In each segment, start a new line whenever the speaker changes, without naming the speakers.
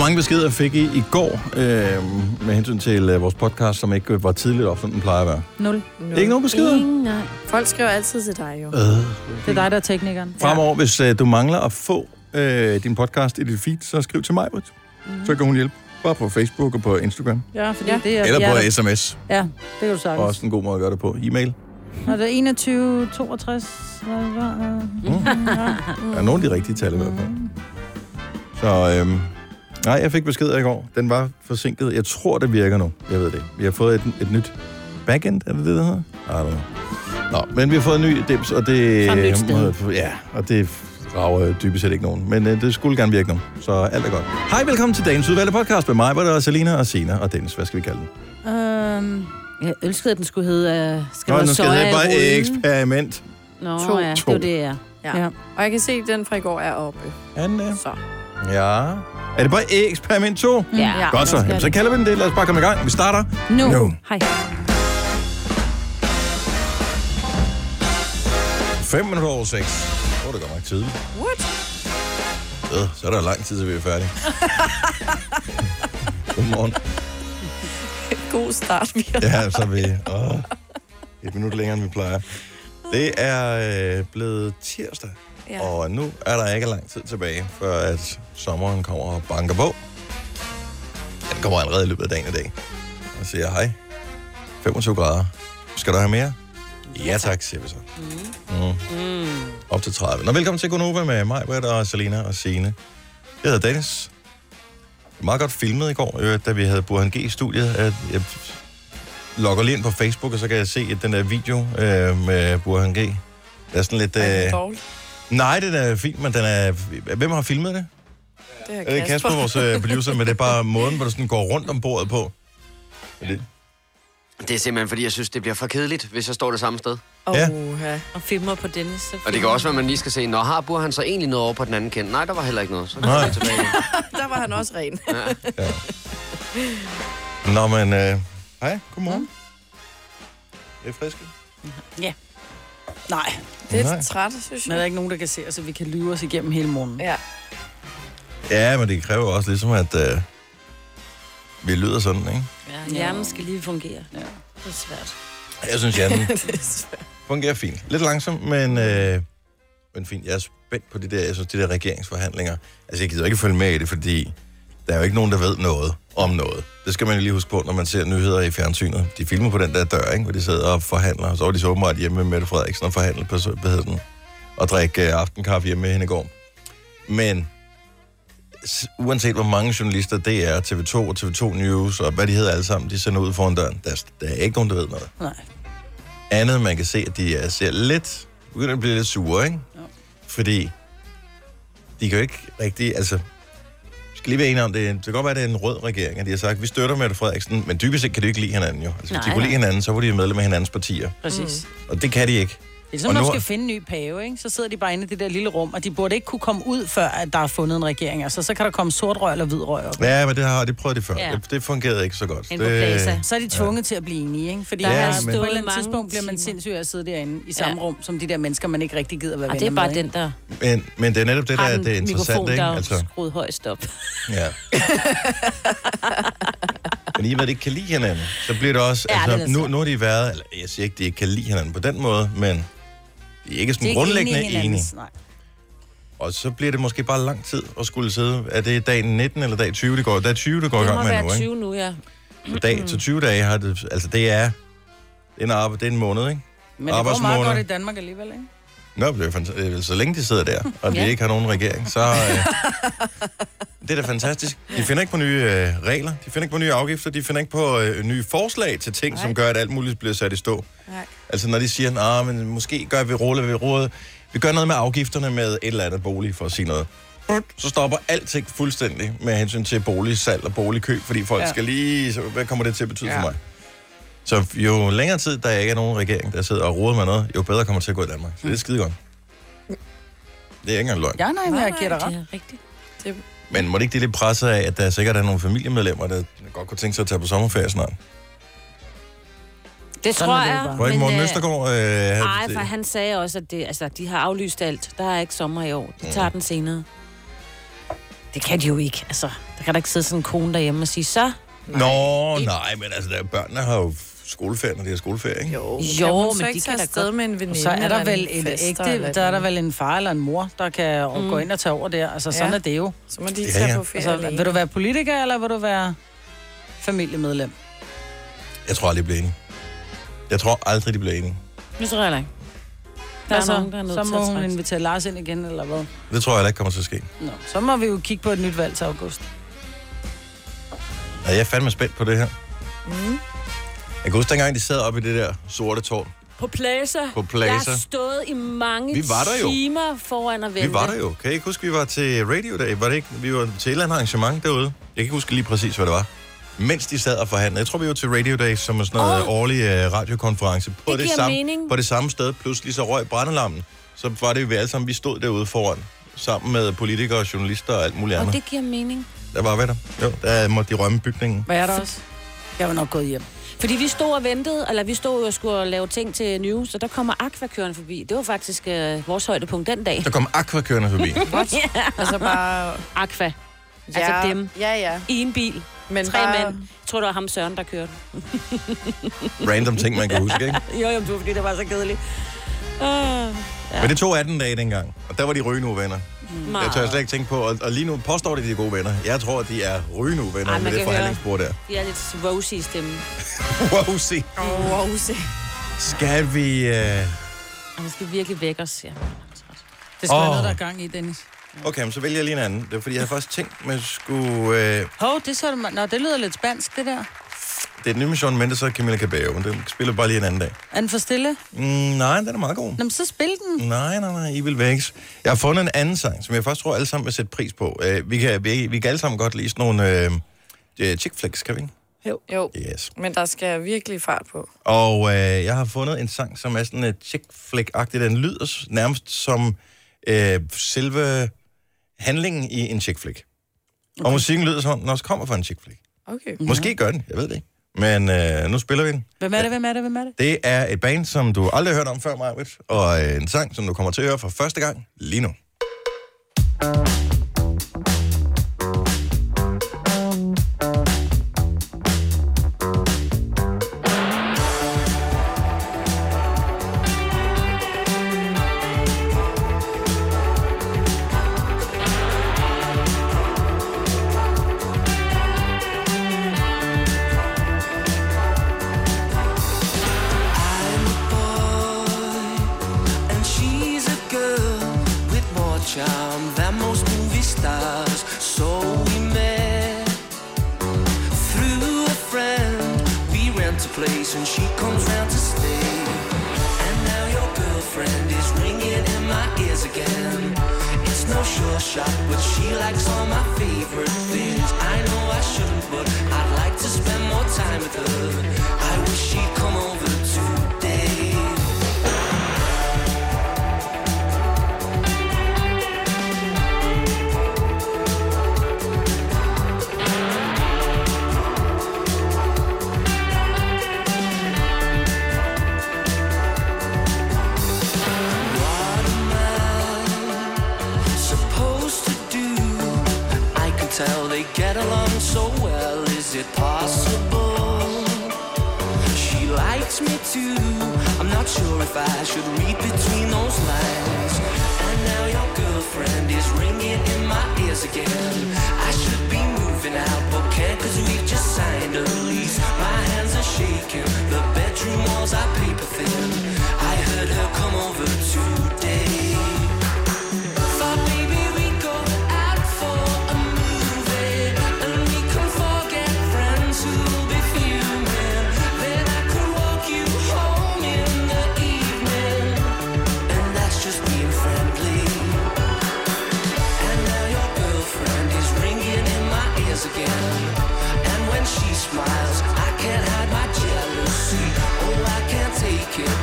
mange beskeder fik I i går øh, med hensyn til øh, vores podcast, som ikke var tidligt op, som den plejer at være?
Nul.
Ikke nogen beskeder?
Ingen, nej.
Folk skriver altid til dig, jo.
Øh.
Det er dig, der er teknikeren.
Fremover, hvis øh, du mangler at få øh, din podcast i dit feed, så skriv til mig, mm-hmm. så kan hun hjælpe. Bare på Facebook og på Instagram.
Ja, fordi ja. det er...
Eller
ja,
på sms.
Ja, det kan du
Og
sagtens.
også en god måde at gøre det på. E-mail.
Når det er 21, 62... hvad var det?
Mm. Der er nogle af de rigtige tal i hvert fald. Så øhm, nej, jeg fik besked i går. Den var forsinket. Jeg tror, det virker nu. Jeg ved det. ikke. Vi har fået et, et nyt backend, er det det, der hedder? I don't know. Nå, men vi har fået en ny dims, og det...
Fra et nyt sted.
Ja, og det rager dybest set ikke nogen. Men øh, det skulle gerne virke nu, så alt er godt. Hej, velkommen til dagens udvalgte podcast med mig, hvor der er Selina og Sina og Dennis. Hvad skal vi kalde den?
Øhm, jeg ønskede, at den skulle hedde... Øh, skal
Nå,
Nå,
nu skal det
soja
bare
i rullen?
eksperiment.
Nå,
To.
ja, det
To.
var det, ja.
Ja. ja. Og jeg kan se, at den fra i går er oppe.
Anne.
Så.
Ja. Er det bare eksperiment 2?
Ja.
Godt så. Jamen, så kalder vi den det. Lad os bare komme i gang. Vi starter
Nu.
nu.
Hej.
5 minutter over 6. Åh, det går nok tidligt.
What?
Øh, så er der lang tid, til vi er færdige. Godmorgen.
God start, vi har.
Ja, så er vi... Åh, et minut længere, end vi plejer. Det er øh, blevet tirsdag,
Ja.
ja. og nu er der ikke lang tid tilbage, før at sommeren kommer og banker på. Ja, den kommer allerede i løbet af dagen i dag. Og siger hej. 25 grader. Skal du have mere? Ja tak, siger vi så. Mm. Op til 30. Nå, velkommen til Gonova med mig, Britt og Selina og Sine. Jeg hedder Dennis. Meget godt filmet i går, øh, da vi havde Burhan G i studiet. At Jeg logger lige ind på Facebook, og så kan jeg se at den der video øh, med Burhan G. Det er sådan lidt...
Ej, det
Øh...
er dårligt.
Nej, den er fint, men den er... Hvem har filmet det?
Det her
Er det Kasper, vores øh, producer, men det er bare måden, hvor du sådan går rundt om bordet på. Er det-
Det er simpelthen, fordi jeg synes, det bliver for kedeligt, hvis jeg står det samme sted.
Ja.
Oha.
Og filmer på Dennis. Så
Og det kan også være, at man lige skal se, når har burde han så egentlig noget over på den anden kendt? Nej, der var heller ikke noget. Så
Nej.
Nej. tilbage. igen.
Der var han også ren.
Ja.
Nå, men... Øh... Hej, godmorgen. Er I friske?
Nej,
Lidt
Nej.
træt, synes
men der er
jeg.
ikke nogen, der kan se os, så vi kan lyve os igennem hele morgenen.
Ja.
Ja, men det kræver også ligesom, at øh, vi lyder sådan, ikke?
Ja, hjernen skal lige fungere. Ja. Det er svært.
Jeg synes, hjernen
Det er svært.
fungerer fint. Lidt langsomt, men, øh, men fint. Jeg er spændt på de der, jeg synes, de der regeringsforhandlinger. Altså, jeg gider ikke følge med i det, fordi der er jo ikke nogen, der ved noget om noget. Det skal man jo lige huske på, når man ser nyheder i fjernsynet. De filmer på den der dør, ikke? hvor de sidder og forhandler. Så var de så åbenbart hjemme med Mette Frederiksen og forhandle på hvad hedder den, og drikke øh, aftenkaffe hjemme med hende i går. Men s- uanset hvor mange journalister det er, TV2 og TV2 News og hvad de hedder alle sammen, de sender ud foran døren. Der, er s- der er ikke nogen, der ved noget
Nej.
andet, man kan se, at de er, ser lidt, begynder at blive lidt sure, ikke? Ja. Fordi de kan jo ikke rigtig, altså, vi skal lige være enige om, det, er- det kan godt være, at det er en rød regering, at de har sagt, vi støtter Mette Frederiksen, men dybest set kan de jo ikke lide hinanden jo. Altså, hvis de
Nej,
kunne lide
nej.
hinanden, så var de jo medlem af hinandens partier,
Præcis.
og det kan de ikke.
Det er ligesom,
Og
når
nu-
man skal finde en ny pave, ikke? så sidder de bare inde i det der lille rum, og de burde ikke kunne komme ud, før at der er fundet en regering. Altså, så kan der komme sort røg eller hvid røg op.
Ja, men det har de prøvet det før. Ja.
Ja.
Det, det fungerede ikke så godt.
Inde på Plaza.
Så er de tvunget ja. til at blive enige, ikke? Fordi
Der
ja, der
har stået
men... på et eller andet
mange
tidspunkt bliver man
timer.
sindssyg af at sidde derinde i samme ja. rum, som de der mennesker, man ikke rigtig gider være
Og
venner
det er bare
med,
den, der
Men, men det er netop det, der
har
er,
den
det er interessant,
mikrofon,
ikke?
der
Altså,
er skruet højst op.
ja. Men i og med, at de ikke kan lide hinanden, så bliver det også...
Ja,
altså,
det er da
nu,
svært.
nu har de været... Eller, jeg siger ikke, de ikke kan lide hinanden på den måde, men de er ikke sådan
De er ikke
grundlæggende
enige i
enige.
hinandens- Nej.
Og så bliver det måske bare lang tid at skulle sidde... Er det dag 19 eller dag 20, det går? Dag 20, det går i
Det
gang
må
med nu,
være
ikke?
20 nu, ja. Mm.
Dag til 20 dage har det... Altså, det er... Det er en, arbejde, det er en måned, ikke?
Men det går
Arbejdsmåneder.
meget godt i Danmark alligevel, ikke?
Nå, det er jo fanta- øh, så længe de sidder der, og de
Ja.
ikke har nogen regering, så... Øh, det er da fantastisk. De finder ikke på nye øh, regler, de finder ikke på nye afgifter, de finder ikke på øh, nye forslag til ting, Nej. som gør, at alt muligt bliver sat i stå.
Nej.
Altså når de siger, at men måske gør vi rulle ved rådet, vi gør noget med afgifterne med et eller andet bolig, for at sige noget. Brut, Så stopper alting fuldstændig med hensyn til boligsalg og boligkøb, fordi folk ja.
Ja.
skal lige... Så, hvad kommer det til at betyde ja.
Ja.
for mig? Så jo længere tid, der ikke er nogen regering, der sidder og roder med noget, jo bedre kommer det til at gå i Danmark. Så det er skide godt. Det er ikke engang løgn. Mm. Ja.
Ja, nej, men jeg giver dig
Det
ret.
er rigtigt.
Men må det ikke det lidt presse af, at der sikkert er nogle familiemedlemmer, der godt kunne tænke sig at tage på sommerferie snart?
Det
Sådan
tror
er det
jeg.
bare.
Var ikke Morten
øh,
Østergaard? Øh, havde-
Ej, for han sagde også, at det, altså, de har
Mm.
aflyst alt. Der er ikke sommer i år. De tager den senere. Det kan de jo ikke, altså. Der kan da ikke sidde sådan en kone derhjemme og sige, så
Nej. Nå, nej, men altså, der, børnene har jo skoleferie, når de har skoleferie, ikke?
Jo,
Jo,
jo men
men
ikke
de
tage
kan da
afsted
godt-
med en veninde.
Så er der
eller
vel
en
en
fester eller
ægte,
et
der er der
eller
vel en far eller en mor, der kan mm. gå ind og tage over der. Altså, sådan
Ja.
er det jo.
andet. Så må de
Ja,
tage
ja.
på ferie
Altså,
altså,
vil du være politiker, eller vil du være familiemedlem?
Jeg tror aldrig, de bliver enige. Jeg tror aldrig, de bliver enige.
nu tror jeg heller ikke. Der er
Altså,
nogen, der er nødt
så
til
må
at
hun
trække sig.
invitere Lars ind igen, eller hvad?
Det tror jeg heller ikke kommer til at ske.
Nå, så må vi jo kigge på et nyt valg til august.
Ja, jeg er fandme spændt på det her. Mm. Jeg kan huske, dengang de sad oppe i det der sorte tårn.
På Plaza.
På Plaza.
Jeg har stået i mange
Vi var der jo.
timer foran at vente.
Vi var der jo. Kan I ikke huske, vi var til Radio Day? Var det ikke? Vi var til et eller andet arrangement derude. Jeg kan ikke huske lige præcis, hvad det var. Mens de sad og forhandlede. Jeg tror, vi var til Radio Day, som er sådan noget oh. årlig uh, radiokonference. På
Det giver
samme,
mening.
På det samme sted. Pludselig så røg brændelammen. Så var det jo vi alle sammen, vi stod derude foran. Sammen med politikere, journalister og alt muligt
Og
andet. Det...
det giver mening.
Der var hvad der. Jo, der måtte de rømme bygningen.
Hvad er der også? Jeg var nok gået hjem.
Fordi vi stod og ventede, eller vi stod og skulle lave ting til New, så der kommer Aqua kørende forbi. Det var faktisk øh, vores højdepunkt den dag.
Der kom Aqua kørende forbi.
Altså bare...
Aqua. Altså dem.
Ja, ja.
I en bil.
Men
Tre
bare,
mænd. Jeg tror, det var ham Søren, der kørte.
Random ting, man kan huske, ikke?
Jo, jo, det var fordi, det var så kedeligt. Uh,
Ja. Men det tog 18 dage dengang, og der var de rygende uvenner.
Mm.
Jeg tør slet ikke tænke på, og, og lige nu påstår de, de er gode venner. Jeg tror, de er rygende uvenner
Ej, man
med det
kan høre.
forhandlingsbord der.
De er lidt rosy i stemmen.
Wow, se.
wow, se.
Skal vi... Øh...
Og han skal virkelig vække os, ja.
Det skal oh. være
Åh.
noget, der er gang i, Dennis.
Okay, men så vælger jeg lige en anden. Det var, fordi jeg havde først tænkt, man skulle... Øh...
Hov, det, så, Nå, det lyder lidt spansk, det der.
Det er den nye med Shawn Mendes og Camilla Cabello, men den spiller vi bare lige en anden dag.
Er den for stille?
Mm, nej, den er meget god.
Nå, men så spil den.
Nej, nej, nej, I vil vækkes. Jeg har fundet en anden sang, som jeg først tror, alle sammen vil sætte pris på. Øh, vi, kan, vi, vi kan alle sammen godt lide sådan nogle øh, øh, chick flicks, kan vi ikke?
Jo. jo.
Yes.
Men der skal virkelig fart på.
Og øh, jeg har fundet en sang, som er sådan et chick flick agtig Den lyder s- nærmest som øh, selve handlingen i en chick flick. Okay. Og musikken lyder som om, den også kommer fra en chick flick.
Okay.
Mm. Måske gør den, jeg ved det ikke. Men øh, nu spiller vi den.
Hvem er det, hvem er det, hvem er det?
Det er et band, som du aldrig har hørt om før, Marvitt, og øh, en sang, som du kommer til at høre for første gang lige nu.
and she's a girl with more charm than most movie stars. So we met through a friend. We rent a place and she comes round to stay. And now your girlfriend is ringing in my ears again. It's no sure shot, but she likes all my favorite things. I know I shouldn't, but I'd like to spend more time with her. I wish she'd come over today. supposed to do? I can tell they get along so well. Is it possible? She likes me too. I'm not sure if I should read between those lines. And now your girlfriend is ringing in my ears again. I should be moving out, but can't cause we just signed a lease. My hands are shaking, the bedroom walls are paper thin. I heard her come over today. Thought maybe we'd go out for a movie and we could forget friends who'll be fuming. Then I could walk you home in the evening, and that's just being friendly. And now your girlfriend is ringing in my ears again, and when she smiles, I can't hide my jealousy. Oh, I can't take it.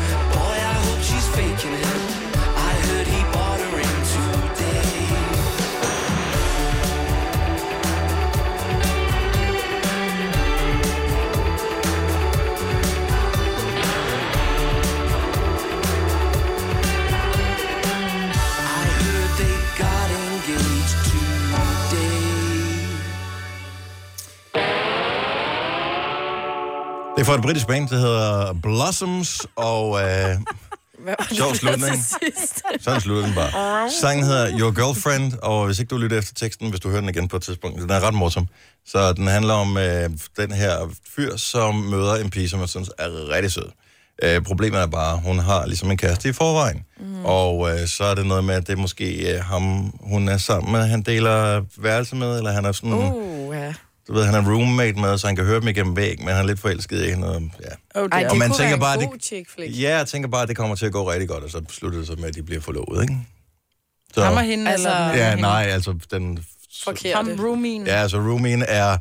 er fra et britisk band, der hedder Blossoms, og øh,
Hvad var det,
Sjov
der
slutning.
til sidst?
sådan slutter den bare. Sangen hedder Your Girlfriend, og hvis ikke du lytter efter teksten, hvis du hører den igen på et tidspunkt, den er ret morsom. Så den handler om øh, den her fyr, som møder en pige, som jeg synes er rigtig sød. Øh, problemet er bare, hun har ligesom en kæreste i forvejen.
Mhm.
Mm. Og øh, så er det noget med, at det er måske øh, ham, hun er sammen med, han deler værelse med, eller han er sådan... Uh.
Uh, ja.
Du ved, han er roommate med, så han kan høre dem igennem væggen, men han er lidt forelsket i hende. og Ja.
Oh,
Ej,
det er.
det
man
kunne
tænker
være en
bare,
bare,
det-
god chick flick.
Ja, jeg tænker bare, at det kommer til at gå rigtig godt, og så slutter det så med, at de bliver forlovet, ikke? Så,
Ham og hende,
Altså-
eller den anden
ja,
hende? Mm.
nej, altså den...
Forkert.
Ham roomien.
Ja, altså roomien er...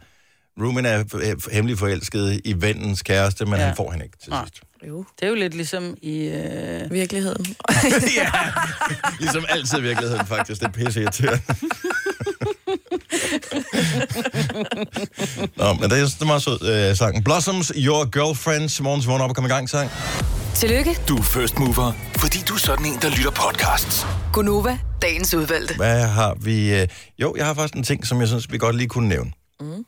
Roomien er øh, hemmelig forelsket i vennens kæreste, men ja.
Ja.
han får hende ikke til
Nej.
sidst.
Jo,
Det er jo lidt ligesom i... Øh...
virkeligheden.
ja, ligesom altid i virkeligheden faktisk. Det er pisse irriterende. Nå, men det er sådan meget sød øh, sangen. Blossoms, Your Girlfriends, morgens vågen op og kom i gang sang.
Tillykke,
Du er first mover, fordi du er sådan en, der lytter podcasts.
Gunova, dagens udvalgte.
Hvad har vi? øh, Jo, jeg har faktisk en ting, som jeg synes, vi godt lige kunne nævne. Mm.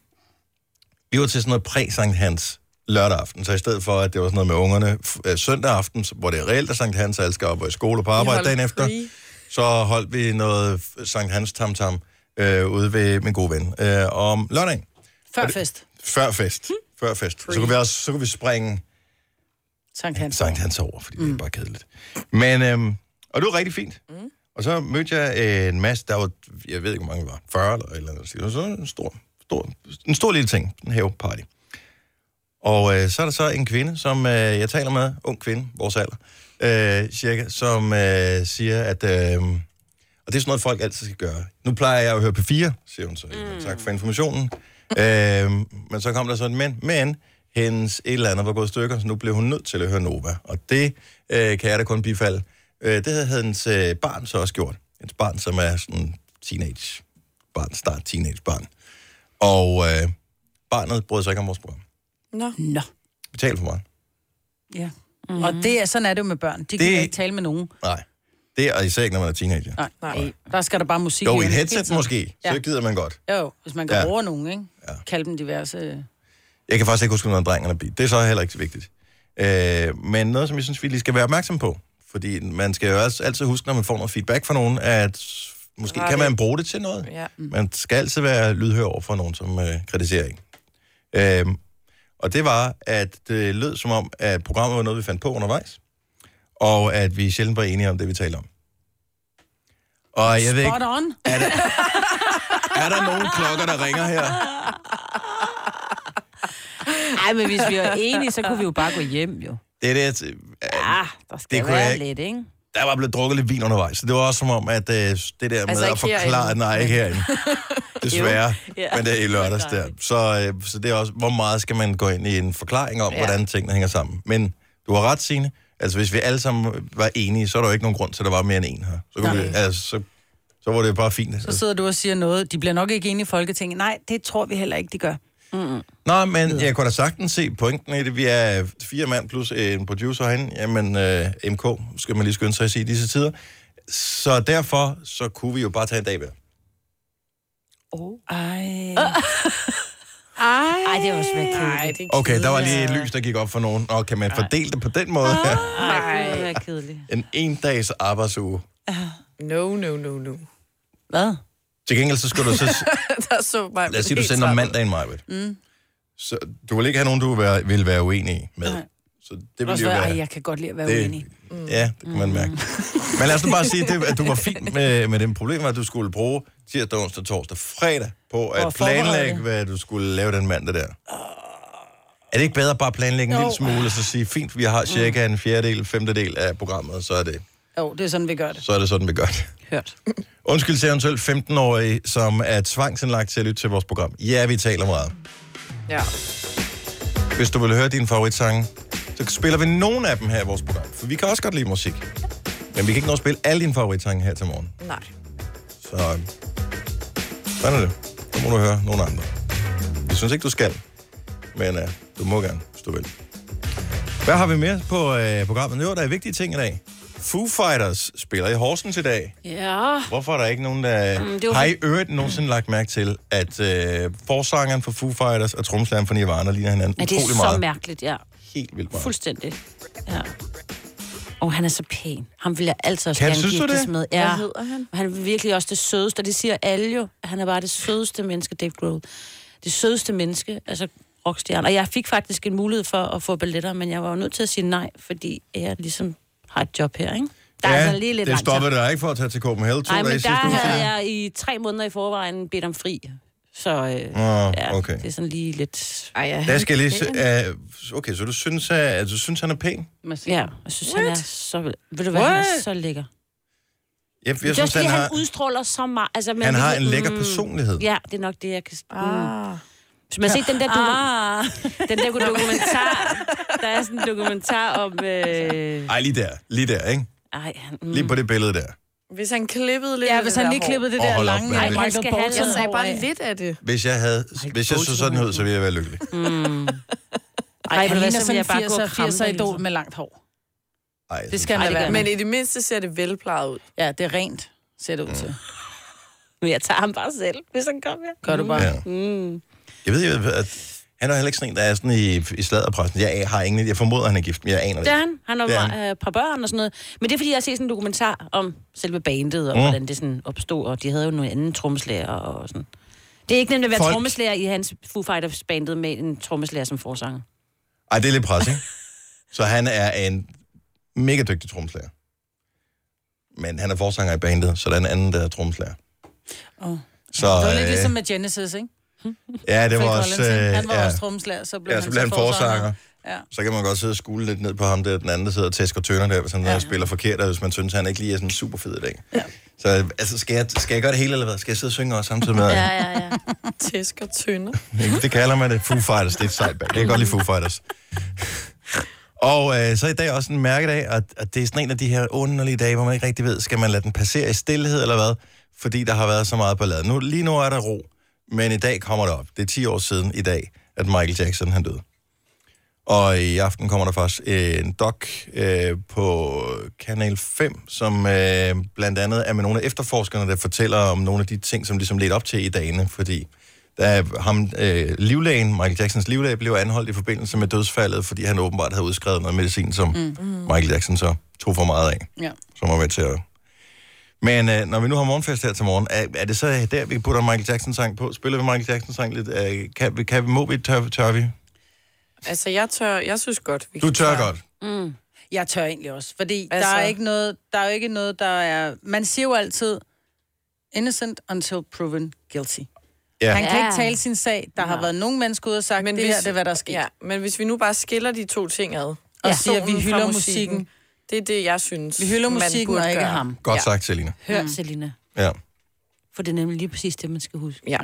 Vi var til sådan noget præ-Sankt Hans lørdag aften, så i stedet for, at det var sådan noget med ungerne f- øh, søndag aften, så- hvor det er reelt, at Sankt Hans alle skal op og i skole og på arbejde dagen efter,
Fri.
så holdt vi noget f- Sankt Hans tamtam øh, ude ved min gode ven øh, om lørdagen.
Før fest.
Før fest.
Hmm.
Før fest. Så kunne vi også så kunne vi springe
Sankt Hans. Hmm.
Sankt Hans over, fordi mm. det er bare kedeligt. Men, øhm, og det var rigtig fint. Mm. Og så mødte jeg øh, en masse, der var, jeg ved ikke, hvor mange det var, 40 eller et eller andet. Så det var sådan en stor, stor, en stor lille ting, en haveparty. Og øh, så er der så en kvinde, som øh, jeg taler med, ung kvinde, vores alder, øh, cirka, som øh, siger, at... Øh, og det er sådan noget, folk altid skal gøre. Nu plejer jeg at høre på fire, siger hun så.
Hmm.
Mm. Tak for informationen. øhm, men så kom der sådan, men, men hendes et eller andet var gået i stykker, så nu blev hun nødt til at høre Nova. Og det øh, kan jeg da kun bifalde. Øh, det havde hendes øh, barn så også gjort. Hendes barn, som er sådan teenage barn, start teenage barn. Og øh, barnet brød sig ikke om vores program.
Nå,
Nå.
Betal for meget.
Ja. Mm-hmm. Og det er, sådan er det jo med børn. De det...
Det-
kan ikke tale med nogen.
Nej. Det er især ikke, når man er teenager.
Nej.
nej.
Nej. Der skal der bare musik.
Jo,
i
i et
ørerne.
headset måske. Så
Ja.
gider man godt.
Jo, hvis man kan
Ja.
ja. bruge nogen, ikke?
Ja.
Ja. Kalde dem diverse...
Jeg kan faktisk ikke huske, om der er en dreng eller en pige. Det er så heller ikke så vigtigt. Øh, men noget, som jeg synes, vi lige skal være opmærksom på, fordi man skal jo også altid huske, når man får noget feedback fra nogen, at måske
Var
kan
det-
man bruge det til noget.
Ja.
Man skal altid være lydhør over for nogen, som øh, kritiserer en. Øh, og det var, at det lød som om, at programmet var noget, vi fandt på undervejs, og at vi sjældent var enige om det, vi talte om. Og jeg ved ikke,
Spot on!
er der, er der nogen klokker, der ringer her?
Nej, men hvis vi var enige, så kunne vi jo bare gå hjem, jo.
Det er det, at, øh,
Ah, der skal
Det
det
kunne jeg
være
ikke.
lidt, ikke?
der var blevet drukket lidt vin undervejs, så det var også som om, at øh, det der med
Altså
altså, at
ikke
forklare,
herinde.
nej, ikke herinde, desværre,
Ja.
men det er i lørdags der. Så, øh, så det er også, hvor meget skal man gå ind i en forklaring om, ja.
Ja.
hvordan tingene hænger sammen. Men du har ret, Signe. Altså, hvis vi alle sammen var enige, så er der jo ikke nogen grund til, at der var mere end en her. Så, kunne vi, altså, så, så var det bare fint.
Så sidder du og siger noget. De bliver nok ikke enige i Folketinget. Nej, det tror vi heller ikke, de gør.
Nå, men jeg kunne da sagtens se pointen i det. Vi er fire mand plus en producer herinde. Jamen, øh, MK skal man lige skynde sig at sige i disse tider. Så derfor, så kunne vi jo bare tage en dag hver.
Ej, det var også være
Nej,
kedeligt.
det er
Okay, der var lige et lys, der gik op for nogen. Og kan man fordele det på den måde
Ah.
her?
Ej, det var være kedeligt.
En en-dags arbejdsuge.
No, no, no, no.
Hvad?
Til gengæld, så skal du så...
Der så mig
Lad os sige, du sender om mandagen, Majbet. Mm. Så du vil ikke have nogen, du vil være, vil være uenig med. Så det vil
Også
jo
være,
være...
ej, jeg kan godt lide at være det... uenig. Mm.
det, ja, det kan man mærke. Men lad os nu bare sige, det, at du var fint med, med den problem, at du skulle bruge tirsdag, onsdag, torsdag, fredag på at
at forberede
planlægge,
det.
hvad du skulle lave den mandag der. Er det ikke bedre bare at planlægge en lille smule, og så sige, fint, vi har cirka en fjerdedel, femtedel af programmet, og så er det
Jo, det er sådan, vi gør det.
så er det sådan, vi gør det.
Hørt.
Undskyld til eventuelt 15-årige, som er tvangsindlagt til at lytte til vores program. Ja, vi taler meget.
Ja.
Hvis du vil høre dine favoritsange, så spiller vi nogle af dem her i vores program. For vi kan også godt lide musik. Men vi kan ikke nå at spille alle dine favoritsange her til morgen.
Nej.
Så øh, sådan er det. Så må du høre nogle andre. Vi synes ikke, du skal. Men øh, du må gerne, hvis du vil. Hvad har vi mere på øh, programmet? Jo, der er vigtige ting i dag. Foo Fighters spiller i Horsens i dag.
Ja,
Hvorfor er der ikke nogen, der... Mm,
det var
har I
fordi-
øvrigt nogensinde lagt mærke til, at øh, forsangeren for Foo Fighters og tromslæren for Nirvana ligner hinanden
men det
utrolig
er så
meget?
mærkeligt, ja.
helt vildt meget.
Fuldstændig. Ja. Og han er så pæn. Ham vil jeg altid også
Kan-
gerne
synes du
giftes
det?
med. Ja.
Hvad hedder han?
Og han er virkelig også det sødeste, og det siger alle jo. at Han er bare det sødeste menneske, Dave Grohl. Det sødeste menneske, altså rockstjerne. Og jeg fik faktisk en mulighed for at få balletter, men jeg var jo nødt til at sige nej, fordi jeg ligesom har et job her, ikke? Der er
ja,
altså lige lidt
det
langt
stoppede dig ikke for at tage til Copenhagen to
Nej, men
dage
der
sidste uge.
havde jeg i tre måneder i forvejen bedt om fri. Så øh,
Nå,
ja,
okay.
det er sådan lige lidt...
Ej, ja.
Der skal jeg lige... se- øh, okay, så du synes, at, at du synes, han er pæn?
Ja, jeg synes, What? han er så... Ved du hvad, What? han er
What?
så lækker.
Jeg,
Jeg
jeg
synes,
synes,
det er,
han
fordi, han,
har,
han udstråler så meget. Altså, man
han har en
virkelig-
lækker
Mm.
personlighed.
Ja, det er nok det, jeg kan... Mm.
Ah.
Hvis man har set den der, doku- den der dokumentar... Der er sådan en dokumentar om... Øh...
Ej, lige der. Lige der, ikke?
Ej, han, mm.
Lige på det billede der.
Hvis han klippede lidt
Ja,
af
hvis
det
han
der
lige
hår.
klippede det
Åh,
der
hold op,
lange
mand.
Michael
Ej, man skal have
Bolton
Jeg sagde
hår
bare
af.
lidt af det.
Hvis jeg, havde, hvis jeg så sådan ud, så ville jeg være lykkelig.
Mm. Ej,
Ej,
ved du hvad,
han ligner
så vil
sådan en
jeg bare gå
80'er,
og kramme
80'er
dig,
idol
ligesom.
med langt hår.
Ej, jeg
Det
synes-
skal han
Ej,
da
det
være.
gør
Men,
Men i det mindste ser det velplejet ud.
ja, det er rent, ser det
Mm.
ud til.
Men jeg tager ham bare selv, hvis han kommer.
Gør du bare.
Ja.
Mm.
Jeg ved jo, at han er heller ikke sådan en, der er sådan i, i sladderpressen. Jeg har ingen... Jeg formoder, han er gift, men jeg aner det
Det er
ikke.
han. Han har
Det er
et øh, par børn og sådan noget. Men det er, fordi jeg har set sådan en dokumentar om selve bandet, og mm. hvordan det sådan opstod, og de havde jo nogle anden trommeslager og sådan. Det er ikke nemt at være
Folk-
trommeslager i hans Foo Fighters-bandet med en trommeslager som forsanger.
Ej, det er lidt pres, ikke? Så han er en mega dygtig tromslager. Men han er forsanger i bandet, så der er en anden, der er tromslager.
Åh.
Så,
Det var lidt
øh,
ligesom med Genesis, ikke?
ja, det
Phil
var
Collins,
også...
ikke?
øh,
han var
ja.
også trommeslager, så blev
Ja,
han,
så bliver han forsanger.
Ja.
Så kan man godt sidde og skule lidt ned på ham, der den anden, der sidder og tæsker tønder der, hvis han ja. spiller forkert, og hvis man synes, han ikke lige er sådan super fed i dag. Ja. Så altså, skal, jeg, skal jeg gøre det hele, eller hvad? Skal jeg sidde og synge også samtidig med? ja.
ja, ja.
Tæsk og tynder.
Det kalder man det. Foo Fighters, det er et sejt band. Jeg kan godt lide Foo Fighters. og øh, så er i dag også en mærkedag, og, og det er sådan en af de her underlige dage, hvor man ikke rigtig ved, skal man lade den passere i stillhed eller hvad? Fordi der har været så meget ballade. Nu, lige nu er der ro, men i dag kommer det op. Det er 10 år siden i dag, at Michael Jackson han døde. Og i aften kommer der faktisk en doc øh, på Kanal 5, som øh, blandt andet er med nogle af efterforskerne, der fortæller om nogle af de ting, som ligesom ledte op til i dagene, fordi der er ham, øh, livlægen, Michael Jacksons livlæge, blev anholdt i forbindelse med dødsfaldet, fordi han åbenbart havde udskrevet noget medicin, som mm. Michael Jackson så tog for meget af,
Ja.
som var med til at... Men øh, når vi nu har morgenfest her til morgen, er, er det så der, vi putter en Michael Jackson-sang på? Spiller vi Michael Jackson-sang lidt? Øh, kan, vi, kan vi, må vi, tør, tør vi?
Altså, jeg tør, jeg synes godt, vi
Du
kan
tør
tørre.
godt.
Jeg tør egentlig også, fordi altså...
Mm. Altså-
der, er ikke noget, der er jo ikke noget, der er... Man siger jo altid, innocent until proven guilty.
Ja.
Han kan
Ja.
ikke tale sin sag. Der har været nogle mennesker ude og sagt, men det her, det er, hvad der er sket.
Ja, men hvis vi nu bare skiller de to ting ad, og
Ja.
siger,
Vi hylder
fra
musikken.
Det er det, jeg synes,
Vi hylder
man
musikken
burde
og ikke
gøre.
ham.
Godt
Ja.
sagt, Selina.
Hør, mm. Selina.
Ja.
For det er nemlig lige præcis det, man skal huske.
Ja.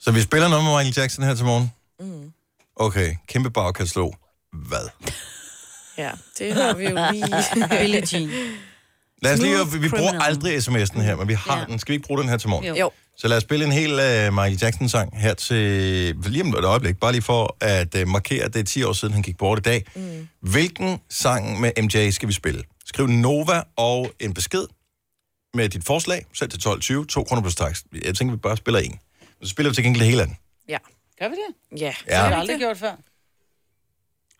Så vi spiller noget med Michael Jackson her til morgen? Mm. Okay, kæmpe bagkatalog. Hvad?
ja, det har vi jo lige.
Billie Jean.
Lad os lige,
Smooth
vi, vi bruger
criminal.
aldrig sms'en her, men vi har
Ja.
den. Skal vi ikke bruge den her til morgen?
Jo.
jo,
Så lad os spille en hel uh, Michael Jackson-sang her til lige om et øjeblik, bare lige for at uh, markere, at det er 10 år siden, han gik bort i dag. Mm. Hvilken sang med MJ skal vi spille? Skriv Nova og en besked med dit forslag, selv til 12.20, 2 kroner plus tax. Jeg tænker, vi bare spiller en. Så spiller vi til gengæld det hele af den.
ja,
Gør vi det?
ja.
Det har
Ja.
vi aldrig gjort før.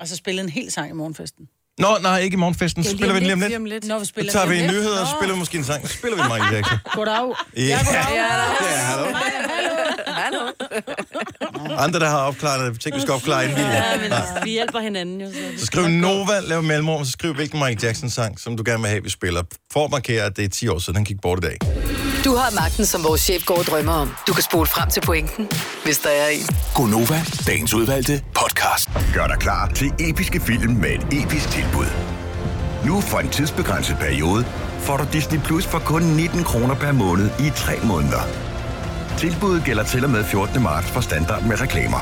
Og så spillede en hel sang i morgenfesten.
Nå, nej, ikke i morgenfesten. Så spiller vi den lige om lidt.
Lige om lidt.
Når vi spiller
Så tager vi en
lidt.
nyhed og
Nå,
spiller måske en sang. Så spiller vi Michael Jackson.
Goddag.
Ja,
Ja,
ja, hallo.
hallo.
Andre, der har opklaret det. Tænk, vi skal opklare en video.
Ja, men vi hjælper hinanden jo. Så.
Så skriv Nova, lav mellemrum, så skriv hvilken Michael Jackson-sang, som du gerne vil have, vi spiller. For at markere, at det er 10 år siden, han gik bort i dag.
Du har magten, som vores chef går og drømmer om. Du kan spole frem til pointen, hvis der er en.
Gonova, dagens udvalgte podcast.
Gør dig klar til episke film med et episk tilbud. Nu for en tidsbegrænset periode får du Disney Plus for kun 19 kroner per måned i 3 måneder. Tilbuddet gælder til og med 14. marts for standard med reklamer.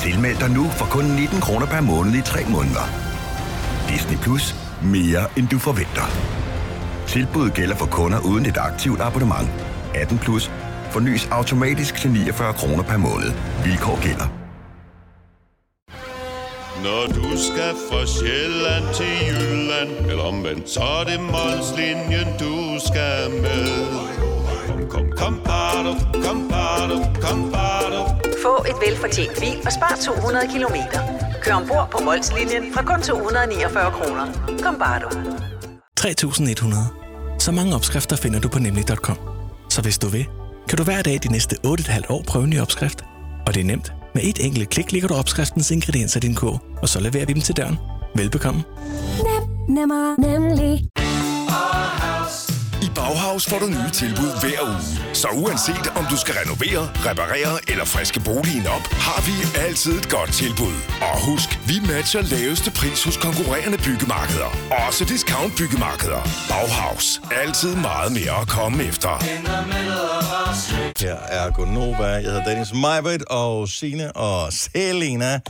Tilmeld dig nu for kun 19 kroner per måned i 3 måneder. Disney Plus. Mere end du forventer. Tilbuddet gælder for kunder uden et aktivt abonnement. 18 plus. Fornyes automatisk til 49 kroner per måned. Vilkår gælder.
Når du skal fra Sjælland til Jylland Eller omvendt, så er det Molslinjen, du skal med Kom, kom, kom, bado, kom, bado, kom, bado.
Få et velfortjent bil og spar 200 kilometer.
Kør ombord på Molslinjen fra kun 249 kroner. Kom bare du.
3100. Så mange opskrifter finder du på nemlig.com. Så hvis du vil, kan du hver dag de næste 8,5 år prøve en ny opskrift. Og det er nemt. Med et enkelt klik ligger du opskriftens ingredienser i din kog, og så leverer vi dem til døren. Velbekomme.
Nem, nemmer, nemlig.
I Bauhaus får du nye tilbud hver uge. Så uanset om du skal renovere, reparere eller friske boligen op, har vi altid et godt tilbud. Og husk, vi matcher laveste pris hos konkurrerende byggemarkeder. Også discount byggemarkeder. Bauhaus. Altid meget mere at komme efter.
Her er Gonova. Jeg hedder Dennis Meibert og Sine og Selena.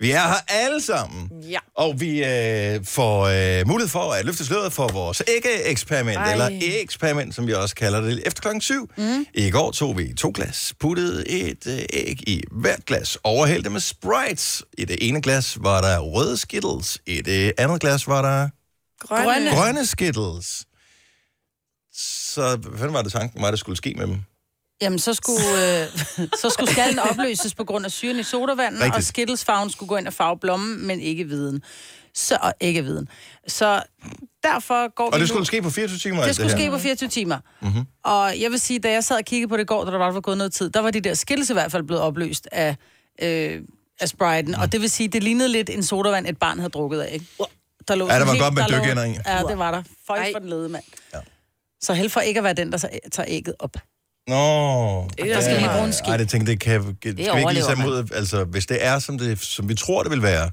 Vi er her alle sammen.
Ja.
Og vi øh, får øh, mulighed for at løfte sløret for vores ægge-eksperiment,
Ej.
eller æg-eksperiment, som vi også kalder det, efter klokken syv. Mm. I går tog vi to glas, puttede et øh, æg i hvert glas, overhældte det med Sprites. I det ene glas var der røde Skittles, i det andet glas var der
Grønne.
grønne Skittles. Så hvad fanden var det tanken, var det skulle ske med dem?
Jamen, så skulle, øh, så skulle skallen opløses på grund af syren i sodavandet, Rigtigt. og
Rigtigt.
skittelsfarven skulle gå ind og farve blommen, men ikke viden. Så, og ikke viden. Så derfor går vi
Og det
nu-
skulle ske på 24 timer? alt
Det skulle ske
her.
på 24 timer.
Mhm.
Og jeg vil sige, da jeg sad og kiggede på det i går, da der var, var gået noget tid, der var de der skills i hvert fald blevet opløst af, øh, af Spriten. Og det vil sige, det lignede lidt en sodavand, et barn havde drukket af. Ikke? Der lå
Ja, der
sådan
var
helt-
godt med
der lå-
dykkeænder i.
Ja, det var der. Føj for den lede, mand. Så held for ikke at være den, der så- tager ægget op.
Nå.
Det er der skal lige bruge en ski.
Ej, det tænkte, det kan, det skal vi ikke lige
overlever
sætte ud. Altså, hvis det er, som, det, som vi tror, det vil være,
Jamen,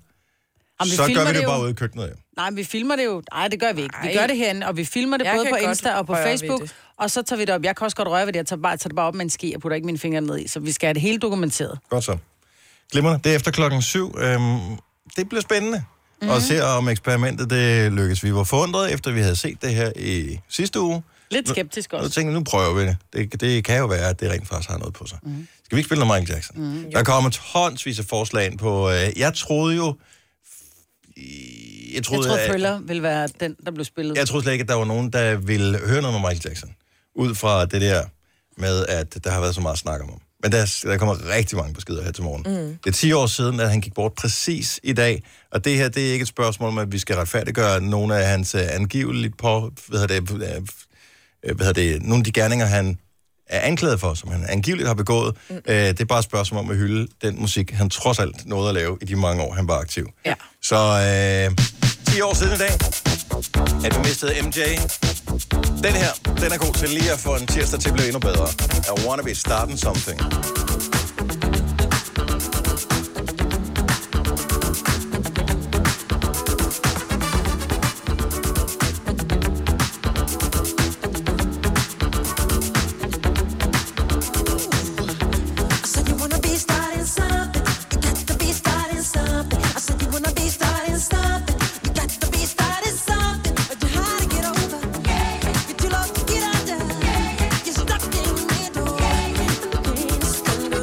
vi
så
filmer
gør vi det,
det jo.
bare ude i køkkenet. Ja.
Nej, men vi filmer det jo. Nej, det gør vi ikke. Vi
Ej.
gør det herinde, og vi filmer det
Jeg
både
kan
på
godt
Insta og på
røre ved
Facebook.
det.
Og så tager vi det op. Jeg kan også godt røre ved det. Jeg tager, bare, tager det bare op med en ske og putter ikke mine fingre ned i. Så vi skal have det hele dokumenteret.
Godt så. Glimrende. Det er efter klokken syv. Øhm, det bliver spændende. Mm.
Mhm.
Og se om eksperimentet det lykkes. Vi var forundret, efter vi havde set det her i sidste uge.
Lidt
Nu-
skeptisk
Nu
også.
tænkte jeg, nu prøver vi det. det. Det kan jo være, at det rent faktisk har noget på sig. Mm. Skal vi ikke spille noget Michael Jackson?
Mm-hmm.
Mm. Der kommer tonsvis af forslag ind på... Øh, jeg troede jo... Jeg
Jeg
troede,
tror,
at-
Thriller vil være den, der blev spillet.
Jeg troede slet ikke, at der var nogen, der ville høre noget med Michael Jackson. Ud fra det der med, at der har været så meget snak om ham. Men der, der kommer rigtig mange beskeder her til morgen. Mm. Det er 10 år siden, at han gik bort præcis i dag. Og det her, det er ikke et spørgsmål om, at vi skal retfærdiggøre nogle af hans øh, angiveligt på... Hvad hedder det, øh, øh, hvad hedder det, nogle af de gerninger, han er anklaget for, som han angiveligt har begået. Mm. Øh, det er bare et spørgsmål om at hylde den musik, han trods alt nåede at lave i de mange år, han var aktiv.
Ja.
Så øh, 10 år siden i dag, at vi mistede MJ. Den her, den er god til lige at få en tirsdag til at blive endnu bedre. I wanna be starting something.
I said you wanna be starting something. You got to be starting something. I said you wanna be starting something. You got to be starting something. But you're hard to get over. You're too low to get under. You're stuck in the middle. And the pain is coming.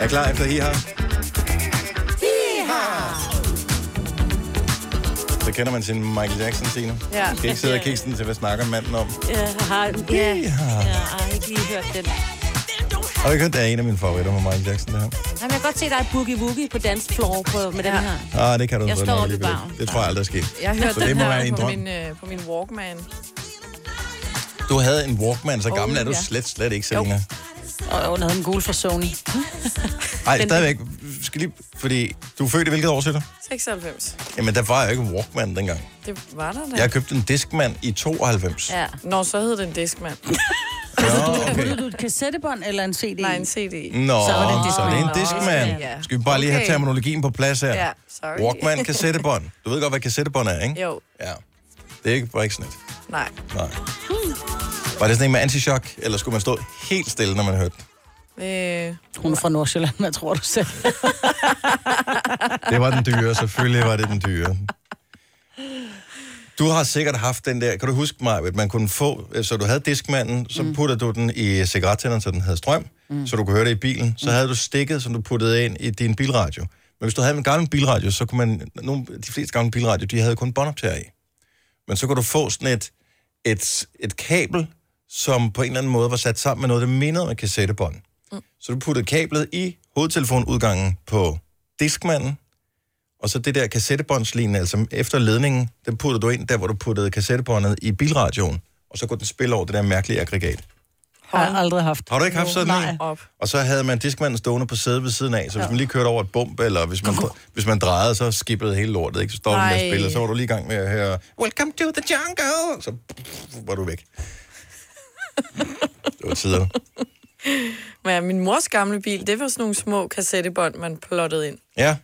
Er klar efter I har? Så kender man sin Michael Jackson scene.
Ja.
Skal ikke sidde og kigge sådan til, hvad snakker manden om.
Jeg har, ja, ja, jeg har ikke lige hørt den.
Og jeg kan det er en af mine favoritter med Michael Jackson, det her.
Jamen, jeg kan godt se, der er boogie woogie på dancefloor på, med den her.
Ah, det kan du
Jeg
så
står
nok
oppe i
alligevel.
baren.
Det tror jeg aldrig er sket.
Jeg hørte
så
den
det må
her
være en
på,
drøm.
min, øh, på min Walkman.
Du havde en Walkman, så gammel
Oh,
er du
ja.
slet, slet ikke, Selina.
Og hun havde en gul fra Sony.
Nej, stadigvæk. Vi Skal lige, fordi du er født i hvilket år, siger du?
96.
Jamen, der var jo ikke Walkman dengang.
Det var der da.
Jeg købte en Discman i 92.
Ja. Nå, så hed den Discman.
Nå, okay.
Kunne du et kassettebånd eller en CD?
Nej, en CD.
Nå, så er det en, så er det en
Nå,
Discman.
ja.
Skal vi bare lige have
Okay.
terminologien på plads her?
Ja, sorry.
Walkman, kassettebånd. Du ved godt, hvad kassettebånd er, ikke?
Jo,
Ja. Det er ikke bare ikke sådan et.
nej.
Nej. Var det sådan en med antichok, eller skulle man stå helt stille, når man hørte den?
Øh,
Hun er fra Nordsjælland, hvad tror du selv?
Det var den dyre, selvfølgelig var det den dyre. Du har sikkert haft den der, kan du huske mig, at man kunne få, øh, så du havde diskmanden, så puttede du den i cigarettænderen, så den havde strøm, mm. så du kunne høre det i bilen, så havde du stikket, som du puttede ind i din bilradio. Men hvis du havde en gammel bilradio, så kunne man, nogle, de fleste gamle bilradio, de havde kun båndoptager i. Men så kunne du få sådan et, et, et kabel, som på en eller anden måde var sat sammen med noget, der mindede om et kassettebånd. Mm. Så du puttede kablet i hovedtelefonudgangen på diskmanden, og så det der kassettebåndslinje, altså efter ledningen, den puttede du ind der, hvor du puttede kassettebåndet i bilradioen, og så kunne den spille over det der mærkelige aggregat.
Har jeg aldrig haft.
Har du ikke haft sådan en? Altså,
Nej.
Og så havde man diskmanden stående på sædet ved siden af, så hvis man lige kørte over et bump, eller hvis man, hvis man drejede, så skippede hele lortet, ikke? Så stod den med at
Ej.
spille, og så var du lige i gang med at høre, Welcome to the jungle! Så var du væk. Det var tider.
Men ja, min mors gamle bil, det var sådan nogle små kassettebånd, man plottede ind.
Ja,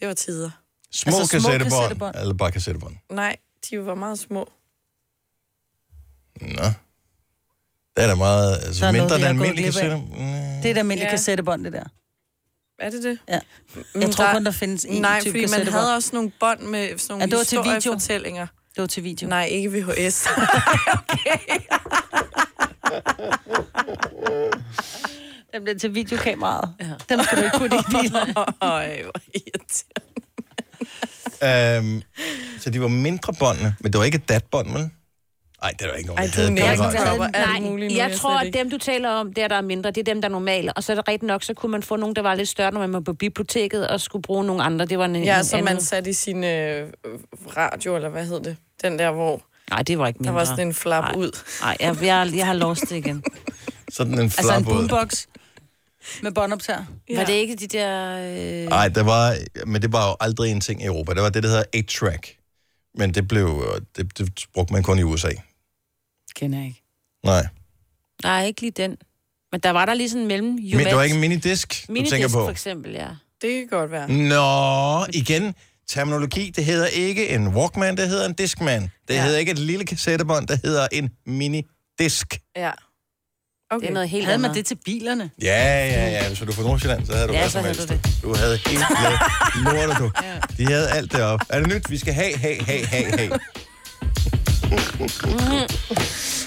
Det var tider.
små,
Altså,
altså,
små
kassettebånd,
kassettebånd.
Eller bare kassettebånd.
Nej, de var meget små.
Nå. Det er da meget, altså
Der er noget,
mindre
vi
end
har gået
almindelige
glip af.
kassetter.
Det er et almindeligt
Ja.
ja. kassettebånd, det der.
Er det det?
Ja.
Men
Jeg tror kun, der findes én
Nej,
type
fordi man
kassettebånd.
havde også nogle bånd med sådan nogle
Ja, det var til video.
historiefortællinger.
Det var til video.
Nej, ikke VHS.
Den blev til videokameraet. Ja. Den skulle du ikke putte i bilen.
Øj, hvor irriterende.
Øhm, så de var mindre båndene, men det var ikke et datbånd, vel? Nej, det var ikke nogen,
Ej,
jeg
du er
havde. Det
nærmest glad.
var bare-
Stopper alt muligt
Nej,
nu,
jeg
jeg
tror,
slet
at dem, du taler om, der, der er mindre, det er dem, der er normale. Og så er det rigtigt nok, så kunne man få nogle, der var lidt større, når man var på biblioteket og skulle bruge nogle andre. Det var en,
Ja,
en
som
anden.
man satte i sin øh, radio, eller hvad hed det? Den der, hvor
Nej, det var ikke
der
mindre.
var sådan en flap
Nej.
ud.
Nej, jeg, jeg, jeg har lost det igen.
Sådan en
Altså en
flap ud.
boombox med båndoptager.
Ja. Var det ikke de der... Øh...
Nej, der var, men det var jo aldrig en ting i Europa. Det var det, der hedder 8-track. Men det blev, øh, det, det brugte man kun i USA.
Kender jeg ikke.
Nej.
Nej, ikke lige den. Men der var der lige sådan en mellem...
Men det var ikke en minidisk, du
Minidisk,
tænker på.
for eksempel, ja.
Det kan godt være.
Nå, igen. Terminologi, det hedder ikke en Walkman, det hedder en Discman. Det
Ja.
hedder ikke et lille kassettebånd, det hedder en minidisk.
Ja. Okay.
Det er noget helt
Havde
andet.
man det til bilerne?
Ja, ja, ja. Hvis du er fra Nordsjælland, så havde du
Ja,
ja, hvad
så
som
havde
helst. Du, du havde helt lort, du. De havde alt det op. Er det nyt? Vi skal have, have, have, have, have.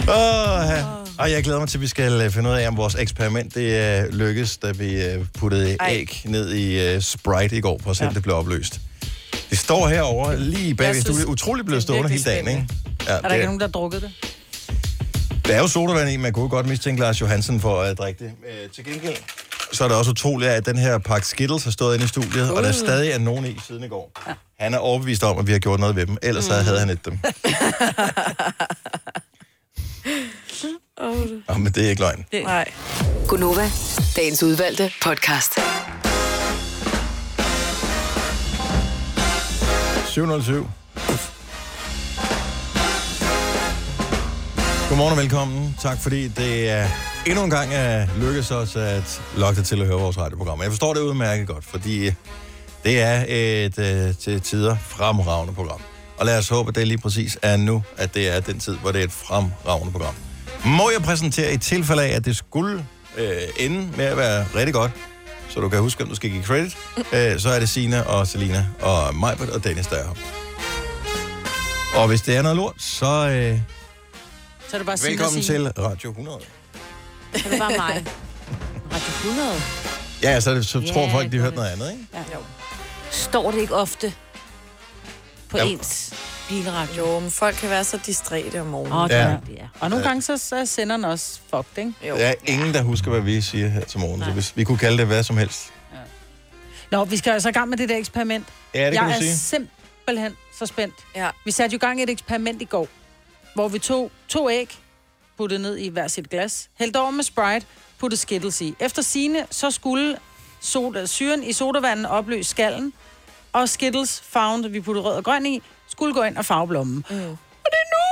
Åh, ja. Og jeg glæder mig til, at vi skal øh, finde ud af, om vores eksperiment det uh, lykkes, da vi uh, puttede
Ej.
Ej. æg ned i uh, Sprite i går, for at se, om det blev opløst. Det står herovre lige bagved.
Jeg
Du
synes,
er utrolig blevet
det er
stående hele
virkelig
dagen, ikke? Ja,
Er der ikke nogen, der har drukket det?
der er jo sodavand i, man kunne jo godt mistænke Lars Johansen for at drikke det. Øh, til gengæld, så er det også utroligt, at den her pakke Skittles har stået inde i studiet, uh. og der
Uh.
Mm.
stadig er nogen i siden i går. Ja. Han er overbevist om, at vi har gjort noget ved dem, ellers mm. havde han et dem.
Oh,
Nå, men det er ikke løgn.
Nej.
Gunova, dagens udvalgte podcast.
707. Godmorgen og velkommen. Tak fordi det er endnu en gang er lykkedes os at lokke dig til at høre vores radioprogram. Jeg forstår det udmærket godt, fordi øh, det er et øh, til tider fremragende program. Og lad os håbe, at det lige præcis er nu, at det er den tid, hvor det er et fremragende program. Må jeg præsentere et tilfælde af, at det skulle øh, ende med at være rigtig godt, så du kan huske, hvem du skal give credit,
Mm.
øh, så er det Sina og Selina og Majbert og Dennis, der er her. Og hvis det er noget lort, så øh,
Så er det bare Signe og
velkommen
Signe.
til Radio 100.
Så det var mig. Radio 100.
Ja, så, er det- så
Ja,
tror folk,
det
de
gør
hørte
det.
noget andet, ikke?
Ja. Står det ikke ofte på
Ja.
ja. ens bilradio?
Jo, men folk kan være så distræte om morgenen.
Åh, det Ja. er rigtigt,
Og nogle gange så, så sender den også fucked, ikke?
Jo. Der er ingen, der husker, hvad vi siger her til morgen. Så hvis vi kunne kalde det hvad som helst.
Nå, vi skal altså i gang med det der eksperiment.
Ja, det kan
jeg
du
er
sige.
simpelthen så spændt. Ja. Vi satte jo i gang et eksperiment i går, hvor vi tog to æg, puttede ned i hver sit glas, hældte over med Sprite, puttede Skittles i. Efter sine så skulle soda, syren i sodavanden opløse skallen, og Skittles found, vi puttede rød og grøn i, skulle gå ind og farve blommen. Mm. Og det er nu!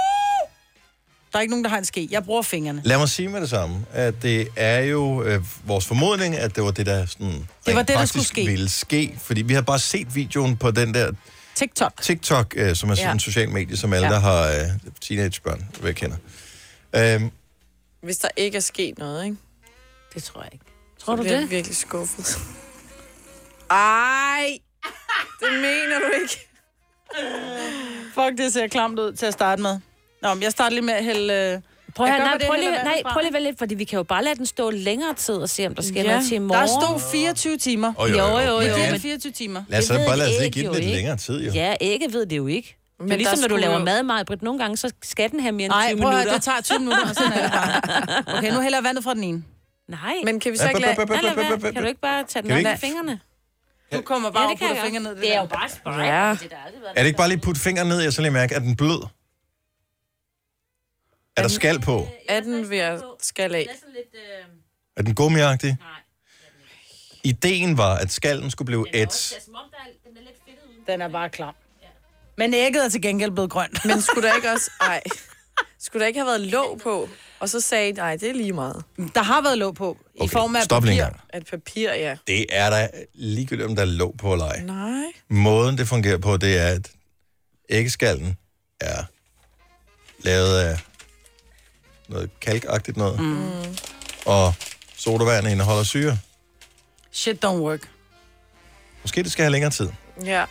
Der er ikke nogen, der har en ske. Jeg bruger fingrene.
Lad mig sige med det samme, at det er jo øh, vores formodning, at det var det, der sådan,
var
rent
det, der
faktisk
skulle ske.
ville ske. Fordi vi har bare set videoen på den der
TikTok,
TikTok øh, som er sådan
Ja.
en social medie, som alle,
Ja.
der har øh, teenagebørn, hvad jeg kender. Øhm,
Hvis der ikke er sket noget, ikke?
Det tror jeg ikke.
Tror
du
bliver
det?
Jeg virkelig skuffet. Ej! Det mener du ikke.
Fuck, det ser klamt ud til at starte med. Nå, men jeg starter lige med at hælde... øh,
Prøv,
jeg
at,
gør,
nej,
hvad det
prøv,
hælder
lige, nej,
vandet fra.
prøv lige vel lidt, fordi vi kan jo bare lade den stå længere tid og se, om der sker
Ja.
ja. noget til i
Der
morgen.
stod 24 timer.
Jo, jo, jo. jo,
Men det er
men-
24 timer.
lad os
Det
så
ved
bare lade os
æg
ligge
jo
lidt
ikke.
længere tid, jo.
Ja, ikke ved det jo ikke. Men det
Men
er ligesom,
der
når du
skulle
laver
jo-
mad, Majbrit. Nogle gange, så skal den have mere end 20
Nej, prøv at
minutter.
høre, det tager 20 minutter, og sådan er det bare. Okay, nu hælder jeg vandet fra den ene.
Nej.
Men kan vi
Ja,
så ikke
bop,
lade...
bop, bop,
Nej, lad
bop,
være.
bop, bop.
Kan du ikke
bare tage
Kan vi
den op
ikke-
af fingrene?
Du kommer bare
Ja, det
ja, og
kan
putter
jeg
fingre ned.
godt.
i
Det er
der.
jo bare sprej.
Ja.
Det der aldrig
Er det ikke bare lige putte fingeren ned, og så lige mærke, at den blød? Er der skal på?
Er den ved at skal af?
Er den gummiagtig? Ideen var, at skallen skulle blive et.
Den er bare klam. Men ægget er til gengæld blevet grønt.
Men skulle der ikke også... Ej. Skulle der ikke have været låg på? Og så sagde I, nej, det er lige meget.
Der har været låg på. I form af
stop lige en
papir.
gang.
At papir, ja.
Det er da ligegyldigt, om der er låg på eller ej.
Nej.
Måden, det fungerer på, det er, at æggeskallen er lavet af noget kalkagtigt noget.
Mm.
Og sodavand indeholder syre.
Shit don't work.
Måske det skal have længere tid.
Ja.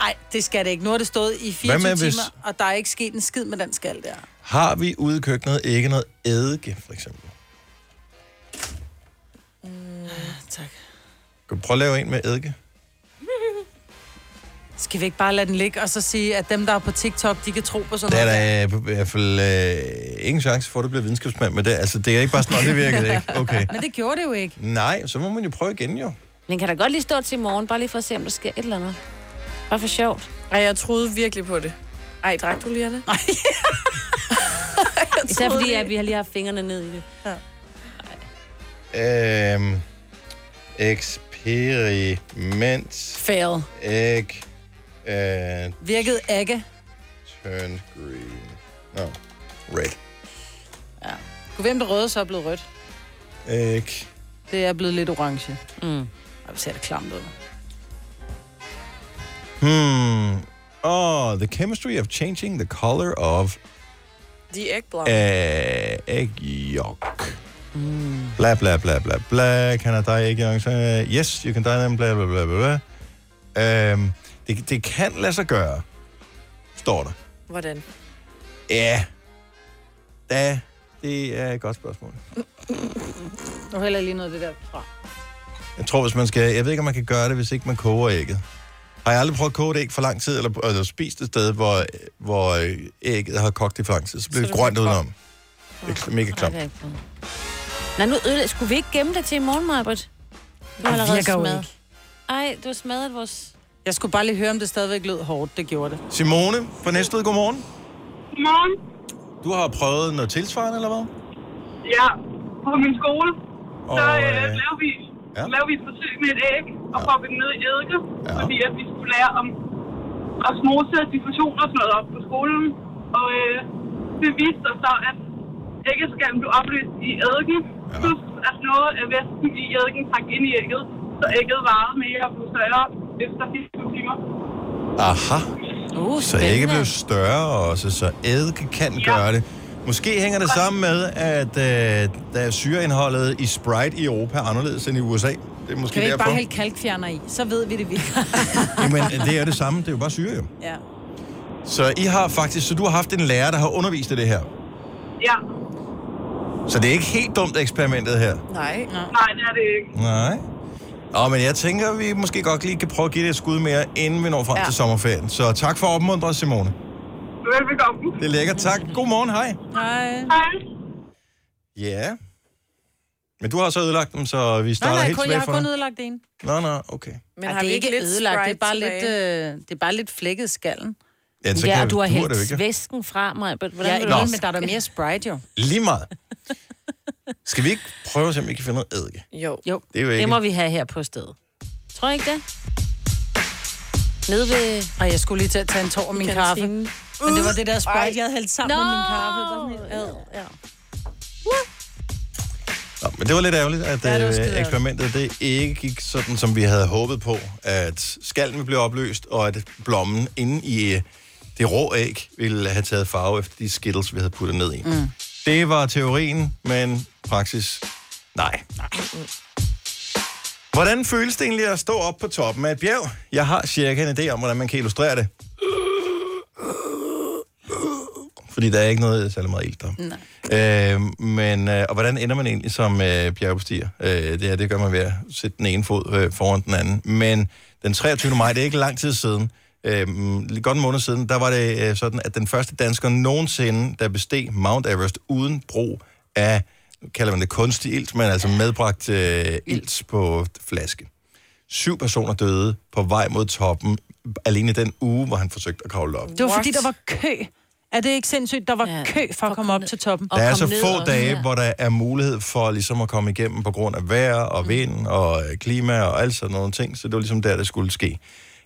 Ej, det skal det ikke. Nu har det stået i 24
Hvad med,
timer,
hvis-
og der er ikke sket en skid med den skal der.
Har vi ude i køkkenet ikke noget eddike, for eksempel?
Ah, Tak.
Kan du prøve at lave en med eddike?
Skal vi ikke bare lade den ligge, og så sige, at dem, der er på TikTok, de kan tro på sådan
Der er
noget?
der øh, i hvert fald øh, ingen chance for, at du bliver videnskabsmand med det. Altså, det er ikke bare sådan, "Nå, det virker det ikke. Okay.
Men det gjorde det jo ikke.
Nej, så må man jo prøve igen, jo.
Den kan da godt lige stå til i morgen, bare lige for at se, om der sker et eller andet. Bare for sjovt.
Ej, jeg troede virkelig på det. Ej, drak du lige af det?
Nej.
Især
troede
fordi,
det.
at vi har lige haft fingrene ned i det.
Øhm, eksperiment.
Fail.
Egg. Øh,
Virkede ikke.
turn green. No. Red.
Kunne hvem det røde så er blevet rødt?
Egg.
Det er blevet lidt orange. Mm. Og ser det klamt ud.
Hmm. Oh, the chemistry of changing the color of
De er ikke blå.
øh, ægjok. Bla, bla, bla, bla, bla. Can I dye ægjok? Uh, yes, you can dye them, bla, bla, bla, bla. bla. Um, det, det kan lade sig gøre, står der.
Hvordan?
Ja. Da, det er et godt spørgsmål.
Nu hælder jeg lige noget af det der fra.
Jeg tror, hvis man skal... Jeg ved ikke, om man kan gøre det, hvis ikke man koger ægget. Har jeg aldrig prøvet at koge et æg for lang tid, eller, eller spist et sted, hvor, øh, hvor øh, ægget har kogt i for lang tid, så bliver det grønt udenom. Det er mega klamt.
Okay. Nej, nu ødelæg- Skulle vi ikke gemme det til i morgen, Majbrit? Du har
Det
allerede
virker jo
smadret. Ej, du har smadret vores...
Jeg skulle bare lige høre, om det stadigvæk lød hårdt. Det gjorde det.
Simone fra Næstved, godmorgen.
Godmorgen.
Du har prøvet noget tilsvarende, eller hvad?
Ja, på min skole,
Og,
så øh,
øh,
lavede, vi,
ja.
ja. lavede vi et forsøg med et æg og proppede det ned i eddike, ja. fordi at vi skulle lære om osmose og diffusion og sådan noget op på skolen. Og øh, det viste sig så, at æggeskallen blev opløst i eddiken, ja. plus at noget af væsken i eddiken trak ind i ægget, så ægget varede mere og blev større efter 24 timer.
Aha.
Uh,
så ægget blev større også, så ægget kan ja. gøre det. Måske hænger det sammen med, at øh, der er syreindholdet i Sprite i Europa er anderledes end i USA. Det er måske
Kan vi ikke
derfor.
bare hælde kalkfjerner i? Så ved vi det virker.
Jamen, det er det samme. Det er jo bare syre, jo.
ja.
Så I har faktisk, så du har haft en lærer, der har undervist i det her.
Ja,
Så det er ikke helt dumt eksperimentet her.
Nej.
nej, det er det ikke.
Nej. Nå, men jeg tænker, vi måske godt lige kan prøve at give det et skud mere, inden vi når frem ja.
Ja.
til sommerferien. Så tak for at opmuntre, os, Simone.
Velbekomme.
Det er lækkert. Tak. Godmorgen. Hej.
Hej.
Hej.
Ja. Men du har så ødelagt dem, så vi
Nej,
starter
nej,
helt
kun, jeg
tilbage
har
fra
kun
nu.
ødelagt en.
Nå, nå, okay.
Men
Ej,
har
det
vi
er
ikke
ikke
lidt
ødelagt, det er
Sprite
bare lidt,
tilbage?
øh, det er bare lidt flækket skallen.
Ja, så
ja,
kan
og du har
du er
hældt
det jo ikke.
væsken fra mig. Hvordan
Ja,
vil
ikke
du
Nå.
noget, men der er der mere Sprite jo.
Lige meget. Skal vi ikke prøve at se, om vi kan finde noget eddike?
Jo.
jo.
Det er jo ikke-
det må vi have her på stedet. Tror jeg ikke det? Nede ved...
Og jeg skulle lige til at tage en tår af min kaffe. Men det var det der Sprite, jeg havde hældt sammen
Nå.
med min kaffe. Der var sådan helt, ad, ja.
Nå, men det var lidt ærgerligt, at
Ja, det var skide
ja,
ærgerligt.
eksperimentet det ikke gik sådan, som vi havde håbet på. At skallen blev opløst, og at blommen inde i øh, det rå æg ville have taget farve efter de skittles, vi havde puttet ned i. Mm. Det var teorien, men praksis, nej. Hvordan føles det egentlig at stå op på toppen af et bjerg? Jeg har cirka en idé om, hvordan man kan illustrere det. Fordi der er ikke noget særlig meget ilt der. Øh, men, øh, og hvordan ender man egentlig som øh, bjergbestiger? Øh, det, her, det gør man ved at sætte den ene fod øh, foran den anden. Men den 23. maj, det er ikke lang tid siden, øh, lige godt en måned siden, der var det øh, sådan, at den første dansker nogensinde, der besteg Mount Everest uden brug af, nu kalder man det kunstig ilt, men altså medbragt øh, ilt på flaske. Syv personer døde på vej mod toppen, alene den uge, hvor han forsøgte at kravle op.
Det var fordi, der var kø. Er det ikke sindssygt? Der var ja, kø for at komme op til toppen.
Der er så få dage, hvor der er mulighed for ligesom at komme igennem på grund af vejr og vind og øh, klima og alt sådan nogle ting. Så det var ligesom der, det skulle ske.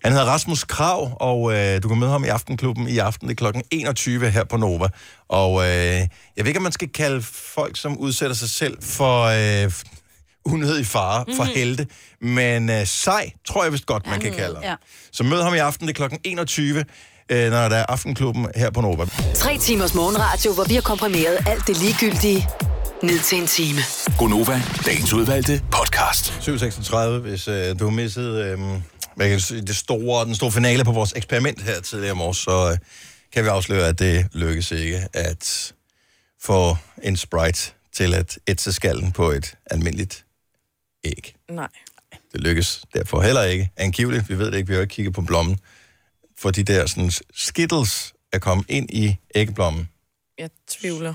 Han hedder Rasmus Krav, og øh, du kan møde ham i Aftenklubben i aften. Det er kl. 21 her på Nova. Og øh, jeg ved ikke, om man skal kalde folk, som udsætter sig selv for øh, unødig fare, mm-hmm. for
Mhm.
helte. Men øh, sej, tror jeg vist godt, man kan kalde ham. Ja. Så mød ham i aften, det er kl. 21, øh, når der er Aftenklubben her på Nova.
Tre timers morgenradio, hvor vi har komprimeret alt det ligegyldige ned til en time.
Gonova, dagens udvalgte podcast. 7.36, hvis øh, du har misset øh, hvad kan jeg sige, det store, den store finale på vores eksperiment her tidligere i morges, så øh, kan vi afsløre, at det lykkes ikke at få en Sprite til at ætse skallen på et almindeligt æg.
Nej.
Det lykkes derfor heller ikke. Angiveligt, vi ved det ikke, vi har jo ikke kigget på blommen. For de der sådan, skittles er kommet ind i æggeblommen,
Jeg tvivler.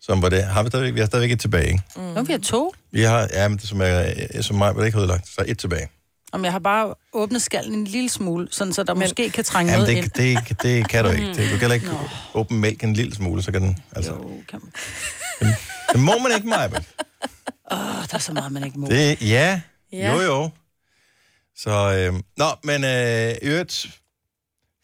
som var det. Har vi stadigvæk, vi har stadigvæk et tilbage, ikke?
Mm. Nu er vi har to.
Vi har, ja, men det som, er, som mig var det ikke ødelagt, så et tilbage.
Om jeg har bare åbnet skallen en lille smule, sådan så der men, måske kan trænge
Jamen,
noget
det,
ind. Mm.
det, det, det kan du ikke. Det, du kan heller ikke åbne mælk en lille smule, så kan den... Altså, jo,
kan man.
Det må man ikke, Maja.
Åh, der er så meget, man ikke må.
Det, ja,
Ja.
jo jo. Så, øh, nå, men øh, i øvrigt,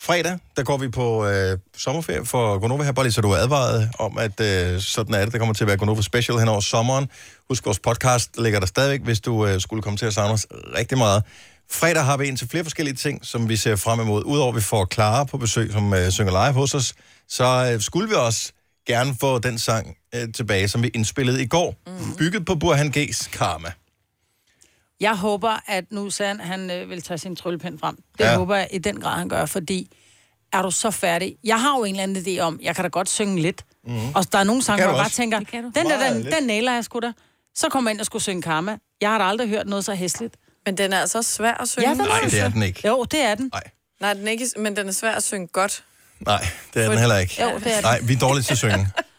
fredag, der går vi på øh, sommerferie for Gonova her, bare lige så du er advaret om, at øh, sådan er det, der kommer til at være Gonova Special hen over sommeren. Husk, vores podcast ligger der stadigvæk, hvis du øh, skulle komme til at savne os rigtig meget. Fredag har vi en til flere forskellige ting, som vi ser frem imod. Udover at vi får Clara på besøg, som øh, synger live hos os, så øh, skulle vi også gerne få den sang øh, tilbage, som vi indspillede i går, mm. bygget på Burhan G's Karma.
Jeg håber, at nu Sand, han øh, vil tage sin tryllepind frem. Det
Ja.
ja. håber jeg i den grad, han gør, fordi er du så færdig? Jeg har jo en eller anden idé om, jeg kan da godt synge lidt.
Mhm.
Mm. Og der er nogle sange,
Kan
hvor
du
jeg bare
også.
tænker, den der,
Meget
den,
lidt.
den næler jeg sgu da. Så kommer jeg ind og skulle synge Karma. Jeg har da aldrig hørt noget så hæsligt.
Men den er altså også svær at synge.
Ja, den er
Nej, det
altså.
er den ikke.
Jo, det er den.
Nej.
Nej, den er ikke, men den er svær at synge godt.
Nej, det er den heller ikke.
Jo, det er den.
Nej, vi er dårlige til at synge.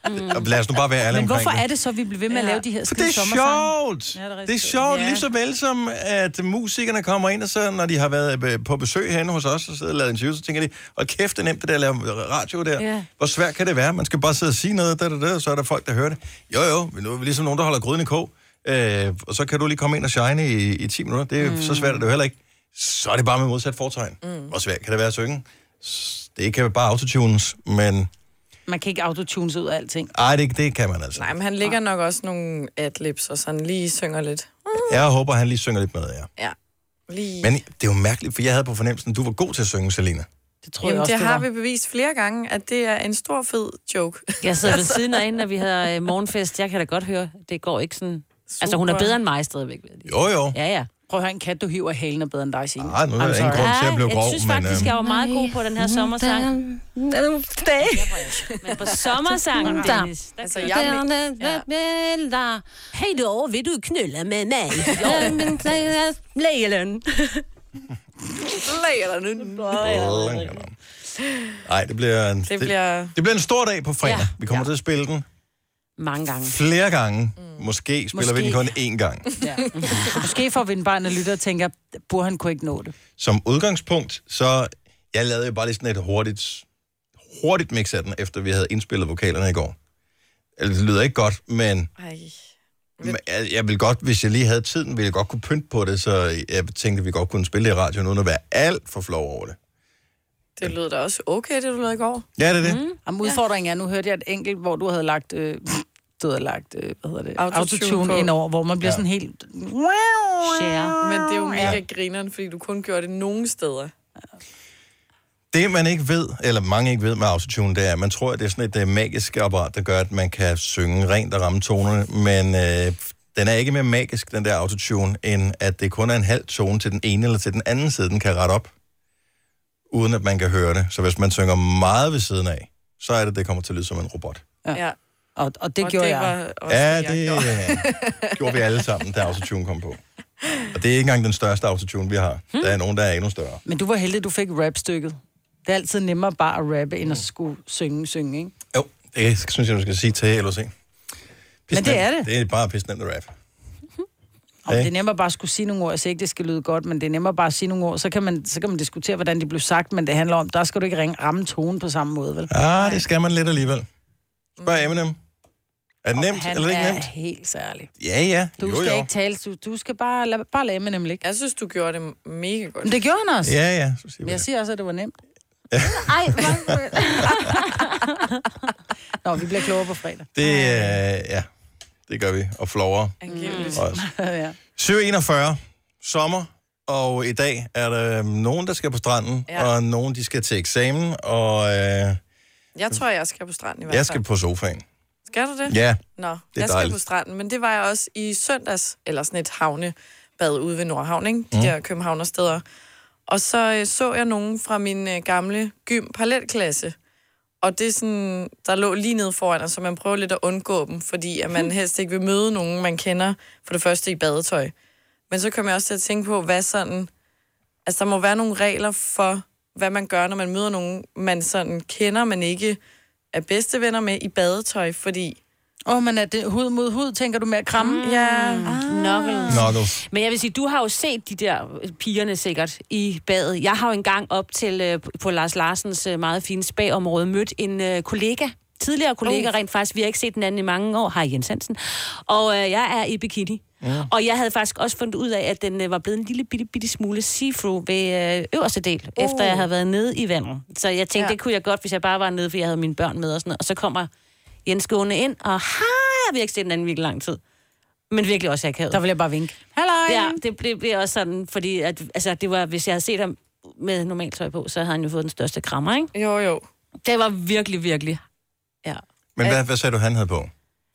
Mm.
Mm.
Og Lad os nu bare være ærlige
Men
omkring
hvorfor er det så, vi bliver ved med at lave de her
For det
skide
er
sommersange?
sjovt.
Ja, det er
det er
rigtig
sjovt,
sjovt.
lige så vel som, at musikerne kommer ind, og så når de har været øh, på besøg henne hos os, og sidder og lavet interviews, så tænker de, og kæft, det er nemt det der at lave radio der.
Ja.
Hvor svært kan det være? Man skal bare sidde og sige noget, der, der, der, så er der folk, der hører det. Jo, jo, men nu er vi ligesom nogen, der holder gryden i kog, øh, og så kan du lige komme ind og shine i, i 10 minutter. Det er mm. så svært, er det jo heller ikke. Så er det bare med modsat fortegn. Mm. Hvor svært kan det være at synge? S- Det kan bare autotunes, men
Man kan ikke autotunes ud af alting.
ej, det, det kan man altså.
Nej, men han ligger nok også nogle adlibs, og sådan lige synger lidt.
Jeg håber, han lige synger lidt med jer. Ja.
Ja. Lige.
Men det er jo mærkeligt, for jeg havde på fornemmelsen, at du var god til at synge, Selina.
Det
Jamen, det, har vi bevist flere gange, at det er en stor fed joke. Altså,
Jeg sidder ved siden af hende, når vi havde øh, morgenfest. Jeg kan da godt høre, det går ikke sådan... Altså, hun er
Super.
bedre end mig stadigvæk.
Jo, jo.
Ja, ja.
Prøv at høre, en kat, du hiver i halen er bedre end dig, Signe.
Ah, nu er der ingen grund til at blive
jeg
grov,
synes
men,
faktisk,
øh,
jeg var meget god på den her sommersang.
Dag.
Men på sommersangen, Dennis, der
Altså,
kører
jeg
den.
ja. Hej då, vil du knulle med mig? Lejlen.
Lejlen.
Nej, det bliver, en, det,
bliver-
det, det bliver en stor dag på fredag.
Ja.
Ja. Vi kommer ja. til at spille den
Mange gange.
flere gange. Mm. Måske spiller Måske. vi den kun
Måske.
én gang.
Ja. Måske får vi en barn og lytter og tænker, burde han kunne ikke nå det.
Som udgangspunkt, så... Jeg lavede jo bare lige sådan et hurtigt, hurtigt mix af den, efter vi havde indspillet vokalerne i går. Altså, Det lyder ikke godt, men...
Ej.
men Jeg, jeg ville godt, hvis jeg lige havde tiden, ville jeg godt kunne pynte på det, så jeg tænkte, at vi godt kunne spille det i radioen, uden at være alt for flov over det.
Det lød da også okay, det du lavede i går.
Ja, det er det. Mm.
Jamen, udfordringen er, nu hørte jeg et enkelt, hvor du havde lagt, øh, du havde lagt øh, hvad hedder det,
Autotune
autotune,
på.
autotune ind over, hvor man bliver
Ja.
ja. sådan helt...
Share. Men det er jo mega
Ja.
grineren, fordi du kun gjorde det nogen steder.
Det, man ikke ved, eller mange ikke ved med autotune, det er, at man tror, at det er sådan et uh, magisk apparat, der gør, at man kan synge rent og ramme tonerne, men øh, den er ikke mere magisk, den der autotune, end at det kun er en halv tone til den ene eller til den anden side, den kan rette op, uden at man kan høre det. Så hvis man synger meget ved siden af, så er det, det kommer til at lyde som en robot.
Ja. Og, og det
Og
og gjorde
det
det jeg.
var-
Ja, det øh, gjorde vi alle sammen, da autotune kom på. Og det er ikke engang den største autotune, vi har. Der er nogen, der er endnu større.
Men du var heldig, du fik rapstykket. Det er altid nemmere bare at rappe,
Mm.
end at skulle synge, synge, ikke?
Jo, det synes jeg, du skal sige til LOC.
Men det er det.
Det er bare pisnemt at rap.
Og det er nemmere bare at skulle sige nogle ord. Jeg siger ikke, det skal lyde godt, men det er nemmere bare at sige nogle ord. Så kan man, så kan man diskutere, hvordan de blev sagt, men det handler om, der skal du ikke ringe, ramme tonen på samme måde, vel?
Ah, det skal man lidt alligevel. Spørg Eminem. Er det nemt,
Mm. Han
eller ikke
er
nemt?
helt særlig.
Ja, ja.
Du jo, skal jo. ikke tale, du, du skal bare lade, bare lade Eminem ligge.
Jeg synes, du gjorde det mega godt.
Men det gjorde han også.
Ja, ja.
Men jeg siger også, at det var nemt.
Ej,
Nå, vi bliver klogere på fredag.
Det, øh, ja, det gør vi. Og flowere.
Angiveligt.
Også.
ja.
741. Sommer. Og i dag er der øhm, nogen, der skal på stranden,
Ja.
ja. og nogen, de skal til eksamen, og øh,
Jeg tror, jeg skal på stranden i hvert fald.
jeg skal på sofaen.
Skal du det?
Ja,
Nå, jeg
det er
skal
dejligt.
på stranden, men det var jeg også i søndags, eller sådan et havnebad ude ved Nordhavn, ikke? De
Mm.
der københavnersteder. Og så øh, så jeg nogen fra min øh, gamle gym parallelklasse. Og det er sådan, der lå lige nede foran os, så man prøver lidt at undgå dem, fordi at
Hmm.
man helst ikke vil møde nogen, man kender for det første i badetøj. Men så kom jeg også til at tænke på, hvad sådan... Altså, der må være nogle regler for, hvad man gør, når man møder nogen, man sådan kender, men ikke er bedste venner med i badetøj, fordi...
Åh, oh, men er det hud mod hud, tænker du med at kramme?
Mm. Ja.
Knuckles.
Knuckles.
Men jeg vil sige, du har jo set de der øh, pigerne sikkert i badet. Jeg har jo engang op til øh, på Lars Larsens øh, meget fine spagområde mødt en øh, kollega, tidligere kollega
Uh.
rent faktisk. Vi har ikke set den anden i mange år. Hej Jens Hansen. Og øh, jeg er i bikini. Ja. Og jeg havde faktisk også fundet ud af, at den øh, var blevet en lille bitte, bitte smule see-through ved øh, øverste del,
Uh.
uh. efter jeg havde været nede i vandet. Så jeg tænkte,
Ja.
ja. det kunne jeg godt, hvis jeg bare var nede, for jeg havde mine børn med og sådan noget. Og så kommer Jens gående ind, og har vi har ikke set den anden i virkelig lang tid. Men virkelig også akavet.
Der vil jeg bare vinke. Hallo!
Ja, det blev, blev også sådan, fordi at, altså, det var, hvis jeg havde set ham med normalt tøj på, så havde han jo fået den største krammer, ikke?
Jo, jo.
Det var virkelig, virkelig. Ja.
Men hvad, hvad sagde du, han havde på?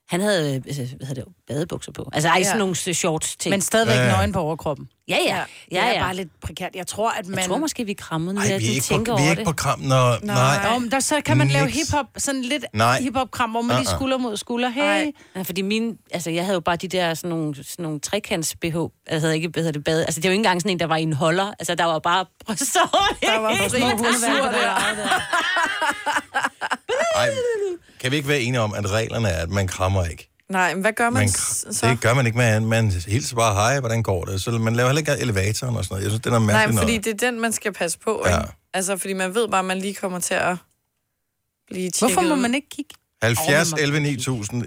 Han havde, øh, altså, hvad hedder det, badebukser på. Altså, ej,
Ja.
sådan nogle øh, shorts ting.
Men stadigvæk
Ja, ja.
nøgen på overkroppen.
Ja, ja. ja, ja.
Det er bare lidt prekært. Jeg tror, at man...
Jeg tror måske, vi krammede nu,
Ej,
at
vi er
du
ikke på,
tænker
vi er
over
ikke
det.
på kram, når...
Nej. Nå, men der, så kan man lave hiphop, sådan lidt
Nej.
hiphop-kram, hvor man lige
Uh-uh.
skulder mod skulder. Hey.
Ja, fordi min, altså jeg havde jo bare de der sådan nogle, sådan nogle trekants BH. Altså jeg havde ikke bedre det bade. Altså det var ikke engang sådan en, der var i en holder. Altså der var bare så Der
var fri dressur
Ej, kan vi ikke være enige om, at reglerne er, at man krammer ikke?
Nej, men hvad gør man,
Man,
man
kr-
så?
det gør man ikke, man, man hilser bare, hej, hvordan går det? Så man laver heller ikke elevatoren og sådan noget. Jeg synes, det er noget
Nej,
mærkeligt
men fordi
noget.
det er den, man skal passe på, ja. ikke? Altså, fordi man ved bare, at man lige kommer til at blive tjekket.
Hvorfor må man ikke kigge?
70, 11, 9000.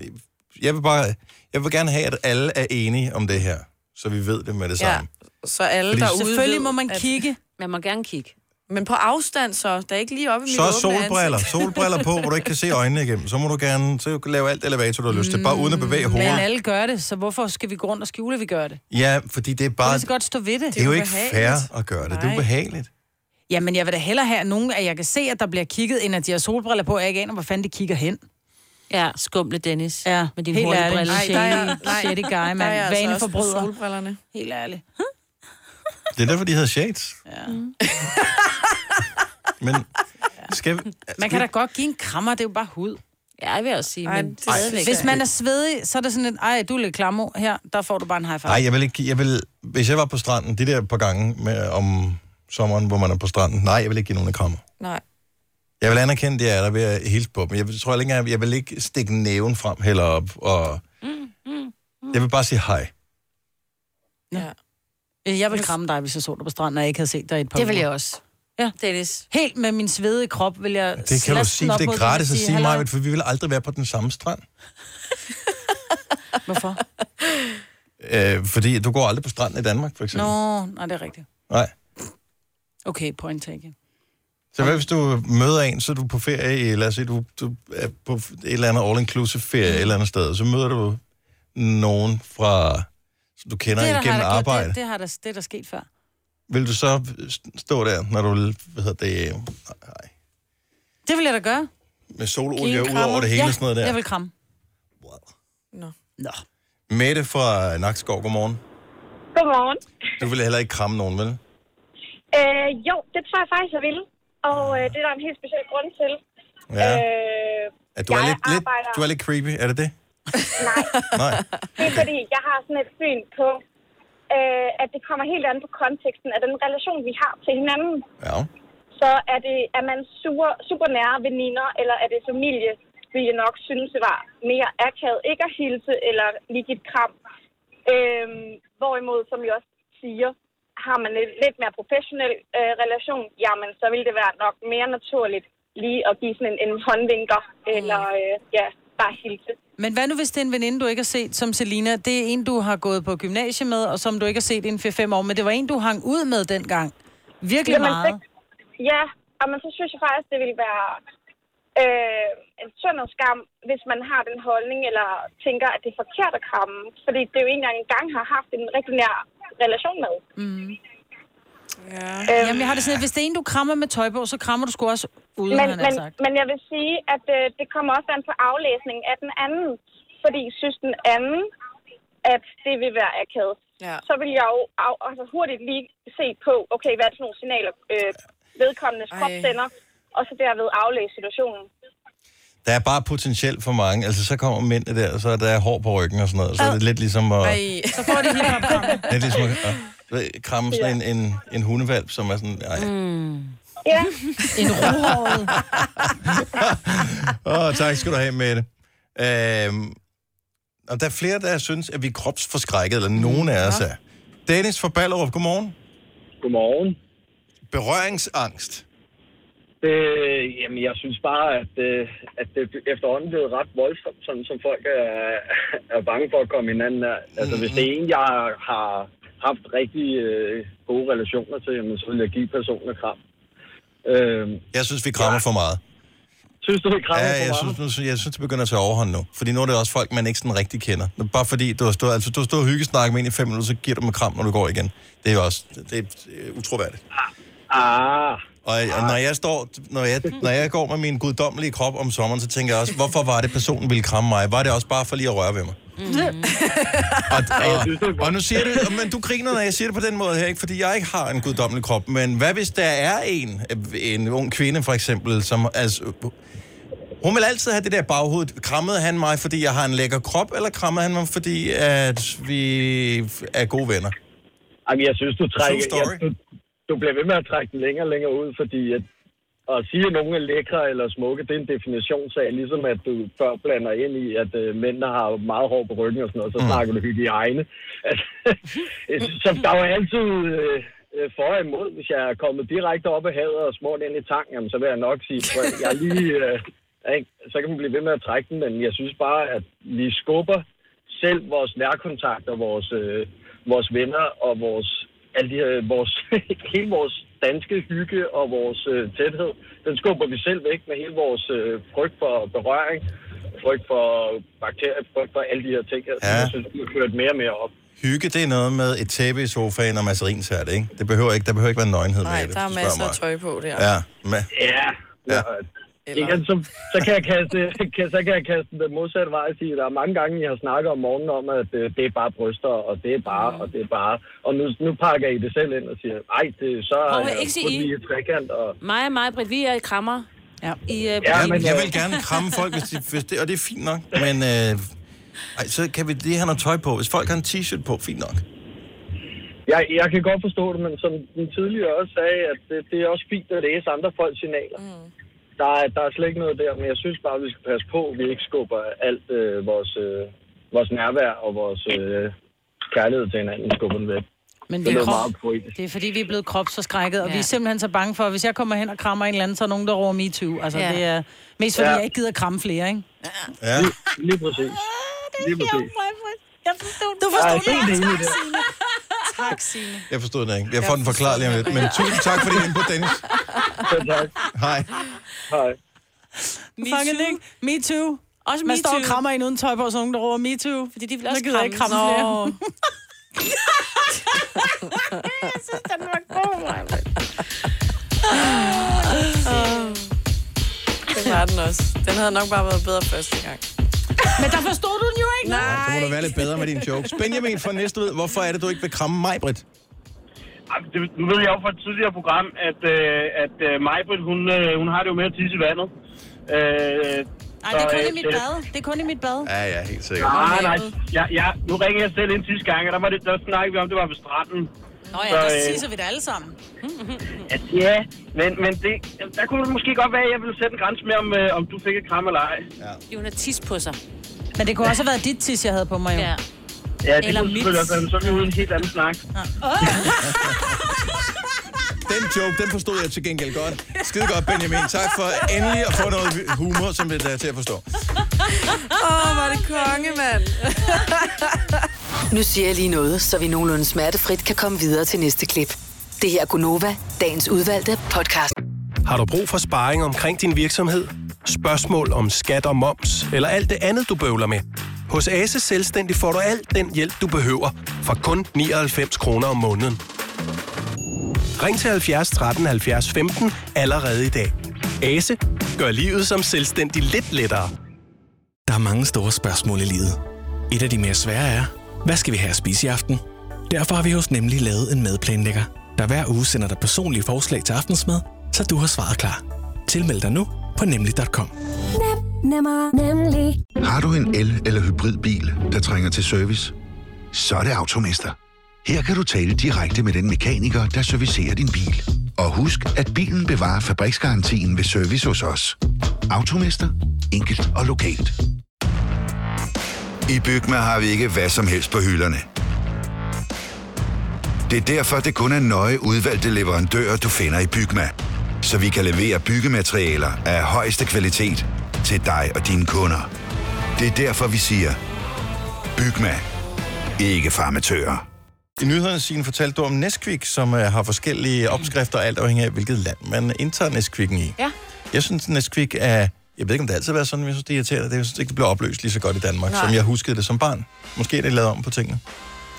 Jeg vil bare, jeg vil gerne have, at alle er enige om det her, så vi ved det med det samme.
Så alle
Fordi-
derude
Selvfølgelig
ved,
må
man kigge.
Man må gerne kigge.
Men på afstand så. Der er ikke lige oppe i mit
Så
åbne
solbriller.
ansigt.
Solbriller på, hvor du ikke kan se øjnene igennem. Så må du gerne så kan du lave alt elevator, du har lyst til. Bare uden at bevæge
Mm, Men
hovedet.
alle gør det, så hvorfor skal vi gå rundt og skjule, at vi gør det?
Ja, fordi det er
Bare,
bare...
kan så godt stå ved det.
Det er jo ikke fair at gøre det. Det er
Nej.
ubehageligt.
Jamen, jeg vil da hellere have at nogen, at jeg kan se, at der bliver kigget, end at de har solbriller på, og jeg ikke aner, hvor fanden de kigger hen.
Ja, skumle Dennis.
Ja,
med dine
helt
hurtige
ærligt.
briller.
Nej, der er- nej,
Shady
der er jeg altså også på
Vaneforbryder.
solbrillerne.
Helt ærligt.
Det er derfor, de hedder shades. Ja. Men skal...
Man kan da godt give en krammer, det er jo bare hud.
Ja, jeg vil også sige,
ej,
men
det er
stadigvæk.
Hvis man er svedig, så er det sådan lidt, ej, du er lidt klammo. Her, der får du bare en high five.
Nej, jeg vil ikke... Jeg vil, hvis jeg var på stranden, de der par gange med, om sommeren, hvor man er på stranden, nej, jeg vil ikke give nogen en krammer.
Nej.
Jeg vil anerkende, det er der ved at hilse på dem. Jeg vil- tror ikke engang, jeg vil ikke stikke næven frem heller op, og
Mm,
jeg vil bare sige hej.
Ja. Øh, Jeg vil kramme dig, hvis jeg så dig på stranden, og jeg ikke havde set dig i et par
Det vil
uger.
jeg også.
Ja,
Dennis.
Helt med min svedede krop vil jeg
Det kan du
slaske
sige,
den
for
op
det
mod
er
den og
gratis at sige
"Hallo."
mig, for vi vil aldrig være på den samme strand.
Hvorfor?
Øh, fordi du går aldrig på stranden i Danmark, for eksempel.
Nå, nej, det er rigtigt.
Nej.
Okay, point taken.
Så hvad hvis du møder en, så er du på ferie, i- lad os sige, du, du er på et eller andet all-inclusive ferie et eller andet sted, så møder du nogen fra, som du kender
det,
det,
er der
igennem
har der-
arbejde.
Det, det, har der, det er der sket før.
Vil du så st- stå der, når du, hvad hedder det,
Det vil jeg da gøre.
med
Give
sololie
en
ud
krammer.
over det hele
ja,
og sådan noget der?
jeg vil kramme.
Mette fra Nakskov, godmorgen.
Godmorgen.
Du vil heller ikke kramme nogen, vel?
Øh, jo, det tror jeg faktisk, jeg ville. Og øh, det er der en helt speciel grund til.
Ja.
Øh,
At du, er
jeg
lidt, lidt,
arbejder-
du er lidt creepy, er det det?
det er fordi, jeg har sådan et syn på, øh, at det kommer helt an på konteksten af den relation, vi har til hinanden.
Ja.
Så er, det, er man super, super nære veninder, eller er det familie, vil jeg nok synes, det var mere akavet ikke at hilse eller lige give et kram. Øhm, hvorimod, som jeg også siger, har man en lidt mere professionel øh, relation, jamen så vil det være nok mere naturligt lige at give sådan en, en håndvinker, eller øh, ja, bare hilse.
Men hvad nu, hvis det er en veninde, du ikke har set, som Selina? Det er en, du har gået på gymnasiet med, og som du ikke har set i en 4-5 år, men det var en, du hang ud med dengang. Virkelig
Jamen,
meget.
så- Ja, og men så synes jeg faktisk, det ville være øh, en synd og skam, hvis man har den holdning, eller tænker, at det er forkert at kramme. Fordi det er jo ikke engang engang har haft en rigtig nær relation med.
Mm. Ja. Jamen, jeg har det sådan, at hvis det er en, du krammer med tøj på, så krammer du sgu også uden,
men,
men, han har
men,
sagt.
men jeg vil sige, at øh, det kommer også an på aflæsningen af den anden. Fordi synes den anden, at det vil være akavet,
ja.
så vil jeg jo af, altså hurtigt lige se på, okay, hvad er det for nogle signaler, øh, vedkommendes krop sender, og så derved aflæse situationen.
Der er bare potentielt for mange. Altså, så kommer mændene der, og så er der hår på ryggen og sådan noget. Så er det lidt ligesom at,
Så får det hele op.
lidt ligesom at, at du ved, kramme sådan en, en, en hundevalp, som er sådan, nej.
Mm.
Ja.
En rohåret.
Åh, oh, tak skal du have, Mette. Øhm, og der er flere, der synes, at vi er kropsforskrækket, eller nogen af os er. Dennis fra Ballerup, godmorgen.
Godmorgen.
Berøringsangst.
Øh, jamen, jeg synes bare, at, øh, at det efterhånden er blevet ret voldsomt, sådan som folk er, er bange for at komme hinanden af. Altså, hvis det er en, jeg har haft rigtig øh, gode relationer til, jamen, så vil jeg give personen et kram. Øh,
Jeg synes, vi krammer for meget.
Synes du, vi krammer
ja,
for
jeg
meget?
Synes, nu, jeg synes, det begynder at tage overhånd nu. Fordi nu er det også folk, man ikke sådan rigtig kender. Bare fordi du har stået, altså, du har stået og hyggesnakket med en i fem minutter, så giver du dem et kram, når du går igen. Det er jo også det er øh, utroværdigt.
Ah.
Og, og når, jeg står, når, jeg, når jeg går med min guddommelige krop om sommeren, så tænker jeg også, hvorfor var det, personen ville kramme mig? Var det også bare for lige at røre ved mig?
Mm.
Og, og, og nu siger du, men du griner, når jeg siger det på den måde her, ikke? fordi jeg ikke har en guddommelig krop. Men hvad hvis der er en, en ung kvinde for eksempel, som... Altså, hun vil altid have det der baghoved. Krammede han mig, fordi jeg har en lækker krop, eller krammede han mig, fordi at vi er gode venner?
Jamen, jeg synes, du trækker...
True story.
Jeg, du, du bliver ved med at trække den længere og længere ud, fordi at, at sige, at nogen er lækre eller smukke, det er en definitionssag, ligesom at du før blander ind i, at øh, mændene har meget hår på ryggen og sådan
Mm.
noget, så snakker du hygiejne. Altså, jeg synes, så der var altid øh, øh, for og imod. Hvis jeg er kommet direkte op af havet og smurt ind i tanken, jamen, så vil jeg nok sige, at jeg er lige... Øh, ikke? så kan man blive ved med at trække den, men jeg synes bare, at vi skubber selv vores nærkontakter, vores, øh, vores venner og vores, alle de her, vores, hele vores danske hygge og vores øh, tæthed, den skubber vi selv væk med hele vores øh, frygt for berøring, frygt for bakterier, frygt for alle de her ting, her, ja. som jeg synes, vi har kørt mere og mere op.
Hygge, det er noget med et tæppe i sofaen og masserinsært, ikke? Det behøver ikke, der behøver ikke være nøgenhed med
Nej,
det.
der er
hvis du spørger
masser
mig.
af tøj på der.
Ja. Ma-
ja.
ja.
Eller-
Igen, så, så, kan jeg kaste, kan, så kan jeg kaste den modsatte vej og sige, at der er mange gange, jeg har snakket om morgenen om, at øh, det er bare bryster, og det er bare, og det er bare. Og nu, nu pakker I det selv ind og siger, ej, det, så
Prøv
er
at
jeg
ikke sige
kun
I.
lige et trekant. Og,
Mig og mig, Britt, vi er i krammer. Ja. I, uh,
Ja, men
øh,
jeg vil gerne kramme folk, hvis de, hvis det, og det er fint nok. Men øh, ej, så kan vi lige have noget tøj på. Hvis folk har en t-shirt på, fint nok.
jeg, jeg kan godt forstå det, men som den tidligere også sagde, at det, det er også fint at læse andre folks signaler. Mm. Der, er, der er slet ikke noget der, men jeg synes bare, at vi skal passe på, at vi ikke skubber alt øh, vores, øh, vores nærvær og vores øh, kærlighed til hinanden, skubber den væk.
Men
det
vi
er
er
noget
krop.
meget poetisk.
Det er fordi, vi er blevet kropsforskrækket, og ja. vi
Ja.
er simpelthen så bange for, at hvis jeg kommer hen og krammer en eller anden, så er nogen, der råber MeToo. Altså,
Ja.
ja. det er mest fordi,
Ja.
ja. jeg ikke gider kramme flere, ikke?
Ja.
Lige, lige præcis. Lige præcis.
Jeg forstod
Du
Ej,
forstod det,
helt enig i
tak,
det.
Signe. Tak, Signe.
Jeg forstod den ikke. Jeg får den forklaret lige om lidt. Men tusind tak for din input, Dennis.
Selv tak.
Hej.
Hej.
Me Fucking too. Ikke? Me too. Også Man
me
står og
too.
krammer en uden tøj på, og så er nogen, der råber me too.
Fordi de vil
Så
også
gider jeg ikke kramme
kramme. Nå.
flere.
Jeg synes, den var god, Maja.
Ah. Det var den også. Den havde nok bare været bedre første gang.
Men der forstod du den jo ikke.
Så må du være lidt bedre med dine jokes. Benjamin fra Næstved, hvorfor er det, du ikke vil kramme mig, Britt?
Jamen, det, nu ved jeg jo fra et tidligere program, at, øh, at øh, Majbrit, hun, øh, hun har det jo med at tisse i vandet. Øh, så,
Ej, det er
øh,
kun i mit bad. Det er kun i mit bad.
Ja, ja, helt
Nej, nej. Ja, ja, nu ringede jeg selv ind sidste gang, og der, var det, der snakkede vi om, det var ved stranden.
Nå ja,
Så,
der
øh,
tisser vi det alle sammen.
at, ja, men, men det, der kunne det måske godt være, at jeg ville sætte en grænse med, om, øh, om du fik et kram eller ej.
Ja,
Hun har tis på sig.
Men det kunne også have været dit tis, jeg havde på mig jo.
Ja.
ja det
Eller
kunne selvfølgelig
mit.
også være, men så er vi ude i en helt anden snak.
Den joke, den forstod jeg til gengæld godt. Skide godt, Benjamin. Tak for endelig at få noget humor, som det er til at forstå.
Åh, oh, var det konge, mand.
Nu siger jeg lige noget, så vi nogenlunde smertefrit kan komme videre til næste klip. Det her er Gunova, dagens udvalgte podcast.
Har du brug for sparring omkring din virksomhed? Spørgsmål om skat og moms, eller alt det andet, du bøvler med? Hos Ase Selvstændig får du alt den hjælp, du behøver, for kun 99 kroner om måneden. Ring til 70 13 70 15 allerede i dag. Ase gør livet som selvstændig lidt lettere.
Der er mange store spørgsmål i livet. Et af de mere svære er, hvad skal vi have at spise i aften? Derfor har vi hos Nemlig lavet en madplanlægger, der hver uge sender dig personlige forslag til aftensmad, så du har svaret klar. Tilmeld dig nu på nemlig.com.
Nemmer, nemlig.
Har du en el- eller hybridbil, der trænger til service? Så er det Automester. Her kan du tale direkte med den mekaniker, der servicerer din bil. Og husk, at bilen bevarer fabriksgarantien ved service hos os. Automester. Enkelt og lokalt.
I Bygma har vi ikke hvad som helst på hylderne.
Det er derfor, det kun er nøje udvalgte leverandører, du finder i Bygma. Så vi kan levere byggematerialer af højeste kvalitet til dig og dine kunder. Det er derfor, vi siger, Bygma. Ikke farmatører.
I nyhederne, Signe, fortalte du om Nesquik, som uh, har forskellige opskrifter, alt afhængig af, hvilket land man indtager Nesquikken i.
Ja.
Jeg synes, Nesquik er... Jeg ved ikke, om det altid har været sådan, men jeg synes, det er irriterende. Det- Jeg synes ikke, det bliver opløst lige så godt i Danmark, Nej.
Nej.
som jeg huskede det som barn. Måske er det lavet om på tingene.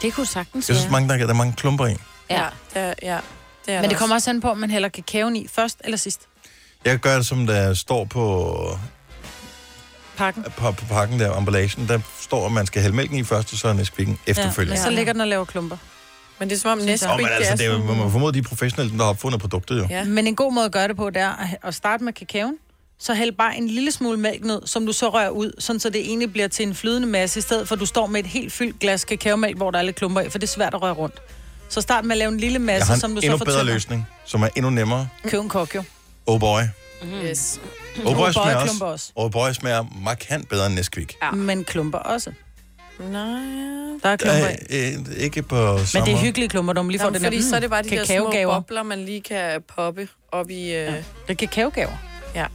Det kunne sagtens
Jeg synes, mange, der, der er mange klumper i.
Ja.
Ja, ja. Det er
Men
der
det kommer også an på, om man hælder kakaoen i først eller sidst.
Jeg gør det, som der står på,
Pakken.
på, på pakken der, emballagen. Der står, at man skal hælde mælken i først, og så er Nesquikken efterfølgende.
Ja. Så ligger den og laver klumper.
Men det er som om
Åh, men altså, det er, jo- man må formode, de er professionelle, der har opfundet produktet jo.
Ja. Men en god måde at gøre det på, det er at- at starte med kakaoen, så hæld bare en lille smule mælk ned, som du så rører ud, sådan så det egentlig bliver til en flydende masse, i stedet for at du står med et helt fyldt glas kakaomælk, hvor der er lidt klumper i, for det er svært at røre rundt. Så start med at lave en lille
Jeg
masse,
har
Altså, som du
en
så
endnu
får
bedre løsning, som er endnu nemmere.
Køb en kok jo.
Oh boy.
Mm. Yes.
Oh boy, smager
klumper også.
også. Oh boy smager markant bedre end Nesquik.
Ja. Men klumper også.
Nej.
Der er klumper i.
øh, ikke på
Men
samme
det er
måde.
hyggelige klumper, når man lige får
Nå,
den
fordi
der,
så er det bare de der små
kakaogaver.
bobler, man lige kan poppe op i... Øh... Ja.
Det er kakaogaver.
Ja.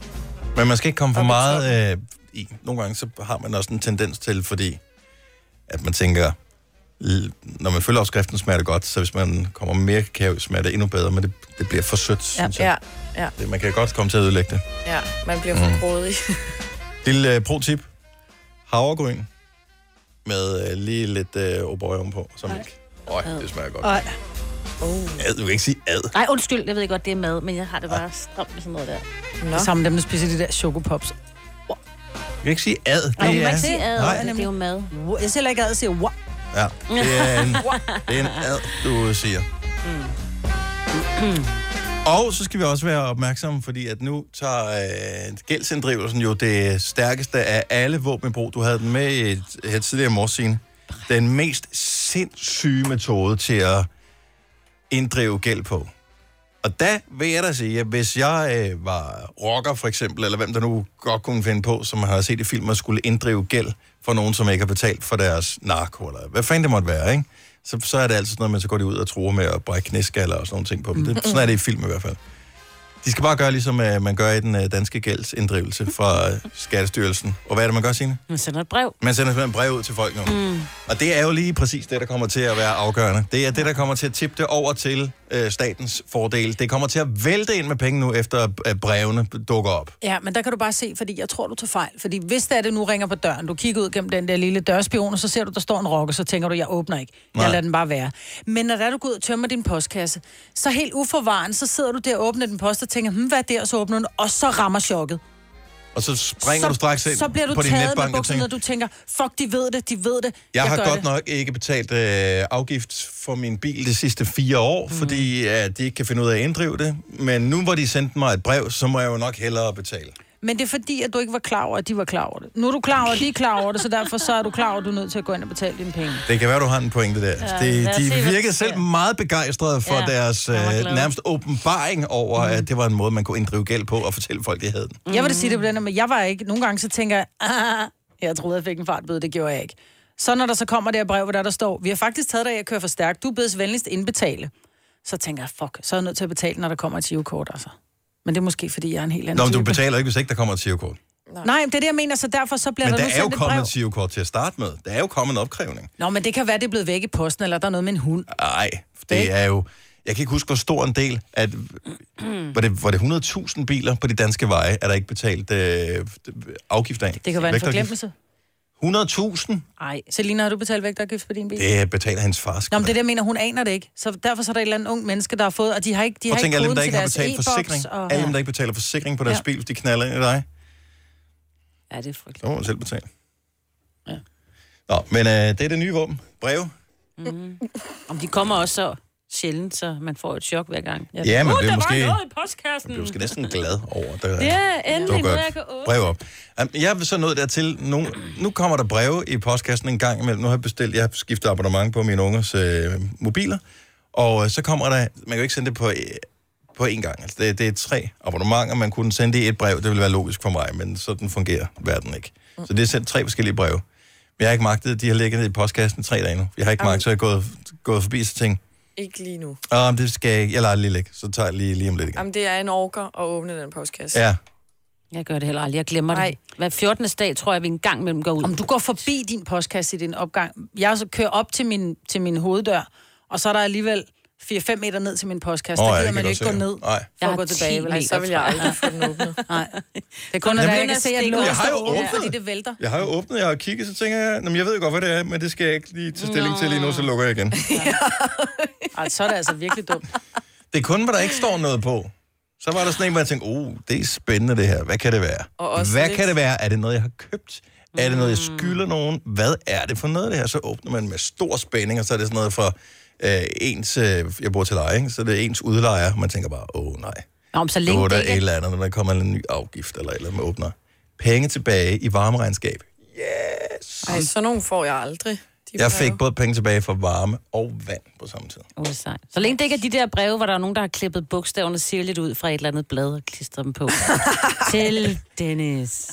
Men man skal ikke komme for meget øh, i. Nogle gange så har man også en tendens til, fordi at man tænker, l- når man følger opskriften, smager det godt, så hvis man kommer med mere kakao, smager det endnu bedre, men det, det bliver for sødt,
Ja.
synes jeg.
ja, ja,
Det, man kan godt komme til at ødelægge det.
ja. Man bliver for
Mm.
grådig.
Lille øh, pro-tip. Havregryn med øh, lige lidt øh, obrøg ovenpå. Som ikke. Øj, det smager godt.
Ej.
Ad, du kan ikke sige ad.
Nej, undskyld, jeg ved godt, det er mad, men jeg har det bare stramt med sådan noget der.
Nå. Sammen med dem, der spiser de der chokopops.
Vi kan ikke sige ad. Det
Nej, man
er-
kan ikke sige ad,
Nej.
det er
jo mad.
Jeg siger heller ikke ad, jeg siger wow.
Ja, det er en, det er en ad, du siger.
Mm.
Og så skal vi også være opmærksomme, fordi at nu tager øh, gældsinddrivelsen jo det stærkeste af alle våbenbrug. Du havde den med i et, her tidligere morgen, Den mest sindssyge metode til at inddrive gæld på. Og der vil jeg da sige, at hvis jeg øh, var rocker for eksempel, eller hvem der nu godt kunne finde på, som man har set i film, at skulle inddrive gæld for nogen, som ikke har betalt for deres narko, eller hvad fanden det måtte være, ikke? Så, så er det altid sådan noget, man så går de ud og truer med at brække knæskaller og sådan nogle ting på dem. Det, sådan er det i film i hvert fald. De skal bare gøre, ligesom øh, man gør i den øh, danske gældsinddrivelse fra øh, Skattestyrelsen. Og hvad er det, man gør, Signe?
Man sender et brev.
Man sender simpelthen brev ud til folk nu.
Mm.
Og det er jo lige præcis det, der kommer til at være afgørende. Det er det, der kommer til at tippe det over til øh, statens fordel. Det kommer til at vælte ind med penge nu, efter at brevene dukker op.
Ja, men der kan du bare se, fordi jeg tror, du tager fejl. Fordi hvis det er det, nu ringer på døren, du kigger ud gennem den der lille dørspion, og så ser du, der står en rokke, så tænker du, jeg åbner ikke. Jeg
Nej.
lader den bare være. Men når der er, du går ud og tømmer din postkasse, så helt uforvaren, så sidder du der og åbner din post og tænker, hm, hvad er det, og så åbner den, og så rammer chokket.
Og så springer
så,
du straks ind
så bliver du
på din
taget med
netbank og
bukserne,
tænker,
og du tænker, fuck, de ved det, de ved det.
jeg har
gør
godt
det.
nok ikke betalt øh, afgift for min bil de sidste fire år, mm. fordi at de ikke kan finde ud af at inddrive det. Men nu hvor de sendte mig et brev, så må jeg jo nok hellere betale.
Men det er fordi, at du ikke var klar over, at de var klar over det. Nu er du klar over, at de er klar over det, så derfor så er du klar over, at du er nødt til at gå ind og betale dine penge.
Det kan være, du har en pointe der.
Ja,
Ja,
lad
de
os se, hvad
de
der
virkede selv meget begejstrede for
Ja,
ja, deres øh,
jeg var glad. Mhm.
nærmest åbenbaring over, mm. at det var en måde, man kunne inddrive gæld på og fortælle folk, de havde den.
Jeg vil da sige det på den her, men jeg var ikke. Nogle gange så tænker jeg, ah, jeg troede, jeg fik en fartbøde, det gjorde jeg ikke. Så når der så kommer det her brev, hvor der, der står, vi har faktisk taget dig i at køre for stærkt, du bedes venligst indbetale. Så tænker jeg, fuck, så er jeg nødt til at betale, når der kommer et girokort, altså. Men det er måske, fordi jeg er en helt anden
Nå, men du
type.
betaler ikke, hvis ikke der kommer et tivekort.
Nej. Nej, men det er det, jeg mener, så derfor så bliver der,
Men der
nu
er jo
sendt et brev.
kommet et tivekort til at starte med. Der er jo kommet en opkrævning.
Nå, men det kan være, det er blevet væk i posten, eller der er noget med en hund.
Nej, det er jo... Jeg kan ikke huske, hvor stor en del, at
Mm.
var det, var det 100.000 biler på de danske veje, er der ikke betalt øh, afgift af?
Det kan være en
Vægtafgift.
forglemmelse.
100.000?
Nej. Selina, har du betalt vægtafgift på din bil?
Det betaler hans far.
Nå, men det er det, jeg mener, hun aner det ikke. Så derfor så er der et eller andet ung menneske, der har fået, og de har ikke, de
Prøv
har
at tænke
ikke
alle dem,
koden
der
til
ikke har
deres
betalt forsikring.
e-boks. Og...
Alle dem, der ikke betaler forsikring på deres
Ja.
bil, hvis de knaller ind i dig.
Ja, det er frygteligt.
Så må man selv betale. Ja. Nå, men øh, det er det nye våben. Breve.
Mm. Om de kommer også så sjældent, så man får et chok hver gang.
Ja, men det er
Uh, der
måske-
var noget i postkassen.
Jeg skal næsten glad over, at der
Mm. Ja, endelig,
dukker
nu
et
jeg kan åbne.
brev op. Jamen, Jeg er så nået dertil, nu, nu kommer der breve i postkassen en gang imellem. Nu har jeg bestilt, jeg har skiftet abonnement på mine ungers øh, mobiler, og øh, så kommer der, man kan jo ikke sende det på, øh, på én gang. Altså, det, det er tre abonnementer, man kunne sende det i et brev, det ville være logisk for mig, men sådan fungerer verden ikke.
Mm.
Så det er sendt tre forskellige breve. Men jeg har ikke magtet, det. de har ligget nede i postkassen i tre dage nu. Jeg har ikke magtet, så jeg er gået, gået forbi, så tænkte,
Ikke lige nu.
Åh, men det skal jeg ikke. Jeg lader det lige ligge. Så tager jeg lige, lige om lidt igen.
Jamen, det er en orker at åbne den postkasse.
Ja.
Jeg gør det heller aldrig. Jeg glemmer det. Hver 14. dag tror jeg, vi en gang mellem går ud.
Om du går forbi din postkasse i din opgang. Jeg så kører op til min, til min hoveddør, og så er der alligevel 4-5 meter ned til min postkasse.
Åh,
Oh,
ja,
der
det
gider
kan
man jo
jeg
ikke gå
godt se.
ned
Nej.
for at
Jeg har
gå
10
tilbage. Altså,
meter, så vil jeg aldrig
få den åbnet. Nej. Det er kun,
Jamen,
når der
jeg
jeg kan se, at
stikker. Jeg
låsen
har jo
står åbent,
åbnet.
fordi det vælter.
Jeg har jo åbnet, jeg har kigget, så tænker jeg, "Nå, men jeg ved jo godt, hvad det er, men det skal jeg ikke lige tage stilling til lige nu, så lukker jeg igen.
Ej, så er det altså virkelig dumt.
Det er kun, hvor der ikke står noget på. Så var der sådan en, hvor jeg tænkte, oh, det er spændende det her. Hvad kan det være?
Og også
Hvad
lidt-
kan det være? Er det noget, jeg har købt? Er det noget, jeg
Mm.
skylder nogen? Hvad er det for noget, det her? Så åbner man med stor spænding, og så er det sådan noget for øh, ens, øh, jeg bor til leje, ikke? så det er ens udlejer. Man tænker bare, åh oh, nej.
Nå, men så
Nu
længe
er der
det
et
ikke...
eller andet, når der kommer en ny afgift eller et eller andet, man åbner. Penge tilbage i varmeregnskab.
Ej, sådan nogle får jeg aldrig.
Jeg fik både penge tilbage for varme og vand på samme tid.
Oh, sejt. Så længe det ikke er de der breve, hvor der er nogen, der har klippet bogstaverne sirligt ud fra et eller andet blad og klistret dem på. Til Dennis.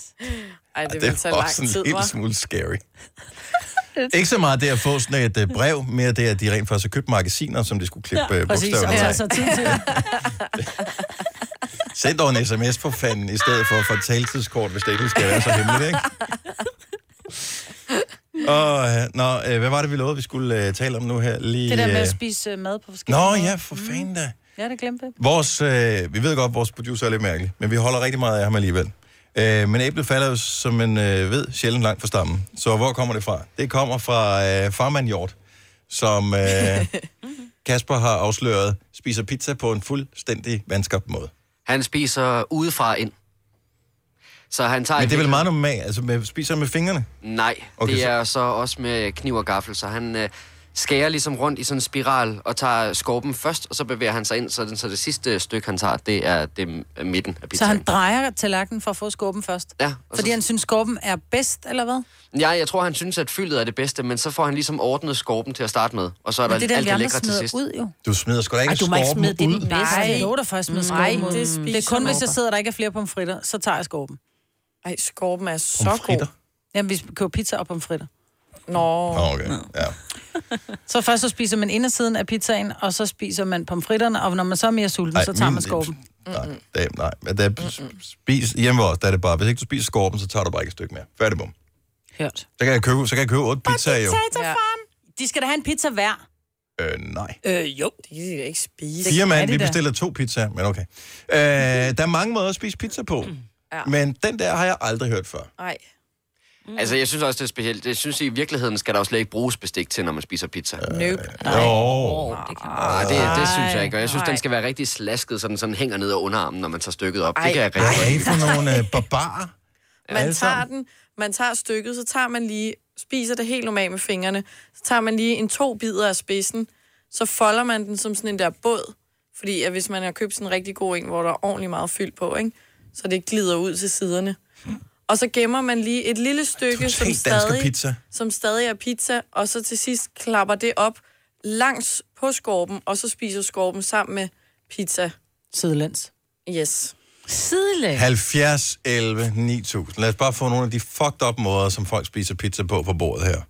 Ej,
Det,
det,
det
vil
er
tage
også
lang
en
tid,
lille
hva'?
smule scary. Ikke så meget det at få sådan et øh, brev, mere det, at de rent faktisk har købt magasiner, som de skulle klippe ja, bogstaverne
og tager
Altså,
af.
så tid til det.
Send dog en sms for fanden, i stedet for at få et taltidskort, hvis det ikke skal være så hemmeligt, ikke? Og, øh, nå, øh, hvad var det, vi lovede, vi skulle øh, tale om nu her? Lige,
Det der med
øh,
at spise øh, mad på forskellige
Nå
måder.
ja, for fanden da.
Ja, det glemte jeg.
Vores, øh, vi ved godt, vores producer er lidt mærkelig, men vi holder rigtig meget af ham alligevel. Øh, men æblet falder jo, som man øh, ved, sjældent langt fra stammen. Så hvor kommer det fra? Det kommer fra øh, Farman Hjort, som øh, Kasper har afsløret, spiser pizza på en fuldstændig vanskabt måde.
Han spiser udefra ind. Så han tager
Men
et
det er vel
helt-
meget normalt, altså med, spiser med fingrene?
Nej,
Okay,
okay, det
så-
er så... også med kniv og gaffel, så han øh, skærer ligesom rundt i sådan en spiral og tager skorpen først, og så bevæger han sig ind, så, den, så det sidste stykke, han tager, det er det, er midten af
Så
pizzaen.
han drejer tallerkenen for at få skorpen først?
Ja.
Fordi han synes, skorpen er bedst, eller hvad?
Ja, jeg tror, han synes, at fyldet er det bedste, men så får han ligesom ordnet skorpen til at starte med, og så er
Men
der
det er den,
alt
vi
det
andre
lækre til
smider
sidst.
ud, jo.
Du smider sgu da ikke
Ej, du må ikke
skorpen
smide det
ud.
i den bedste. Nej, jeg lover dig først med
Nej,
skorpen.
det
ud. det er
spiser
kun,
man
hvis jeg
bare.
sidder, der ikke er flere pomfritter, så tager jeg skorpen.
Ej, skorpen er så god.
Jamen, vi køber pizza og pomfritter.
Nå.
Nå, okay. Ja.
Så først så spiser man indersiden af pizzaen, og så spiser man pomfritterne, og når man så er mere sulten,
Ej,
så tager
min-
man skorpen.
Nej, det, nej. Men Der, spis, hjemme hos os, der er det bare, hvis ikke du spiser skorpen, så tager du bare ikke et stykke mere. Færdig bum.
Hørt.
Så kan jeg købe, så kan jeg købe otte pizzaer jo.
Potato-farm! De skal da have en pizza hver.
Øh, nej.
Øh, jo.
Det kan de da ikke spise.
Fire mand, vi bestiller to pizzaer, men okay. Øh, der er mange måder at spise pizza på,
Ja.
men den der har jeg aldrig hørt før.
Nej.
Altså, jeg synes også, det er specielt. Jeg synes, i virkeligheden skal der jo slet ikke bruges bestik til, når man spiser pizza. Øh,
Nope.
Jo.
Ah, det, det synes jeg ikke, og jeg synes,
Nej.
den skal være rigtig slasket, så den sådan hænger ned ad underarmen, når man tager stykket op.
Ej.
Det kan jeg
Ej,
rigtig godt lide.
for nogle øh, barbarer.
Man
Alle
tager den, man tager stykket, så tager man lige, spiser det helt normalt med fingrene, så tager man lige en to bidder af spidsen, så folder man den som sådan en der båd, fordi at hvis man har købt sådan en rigtig god en, hvor der er ordentligt meget fyld på, ikke? så det glider ud til siderne. Og så gemmer man lige et lille stykke, som
Totalt dansker
stadig,
pizza.
som stadig er pizza, og så til sidst klapper det op langs på skorpen, og så spiser skorpen sammen med pizza.
Sidelæns.
Yes.
Sidelæns?
70, 11, 9000. Lad os bare få nogle af de fucked up måder, som folk spiser pizza på på bordet her.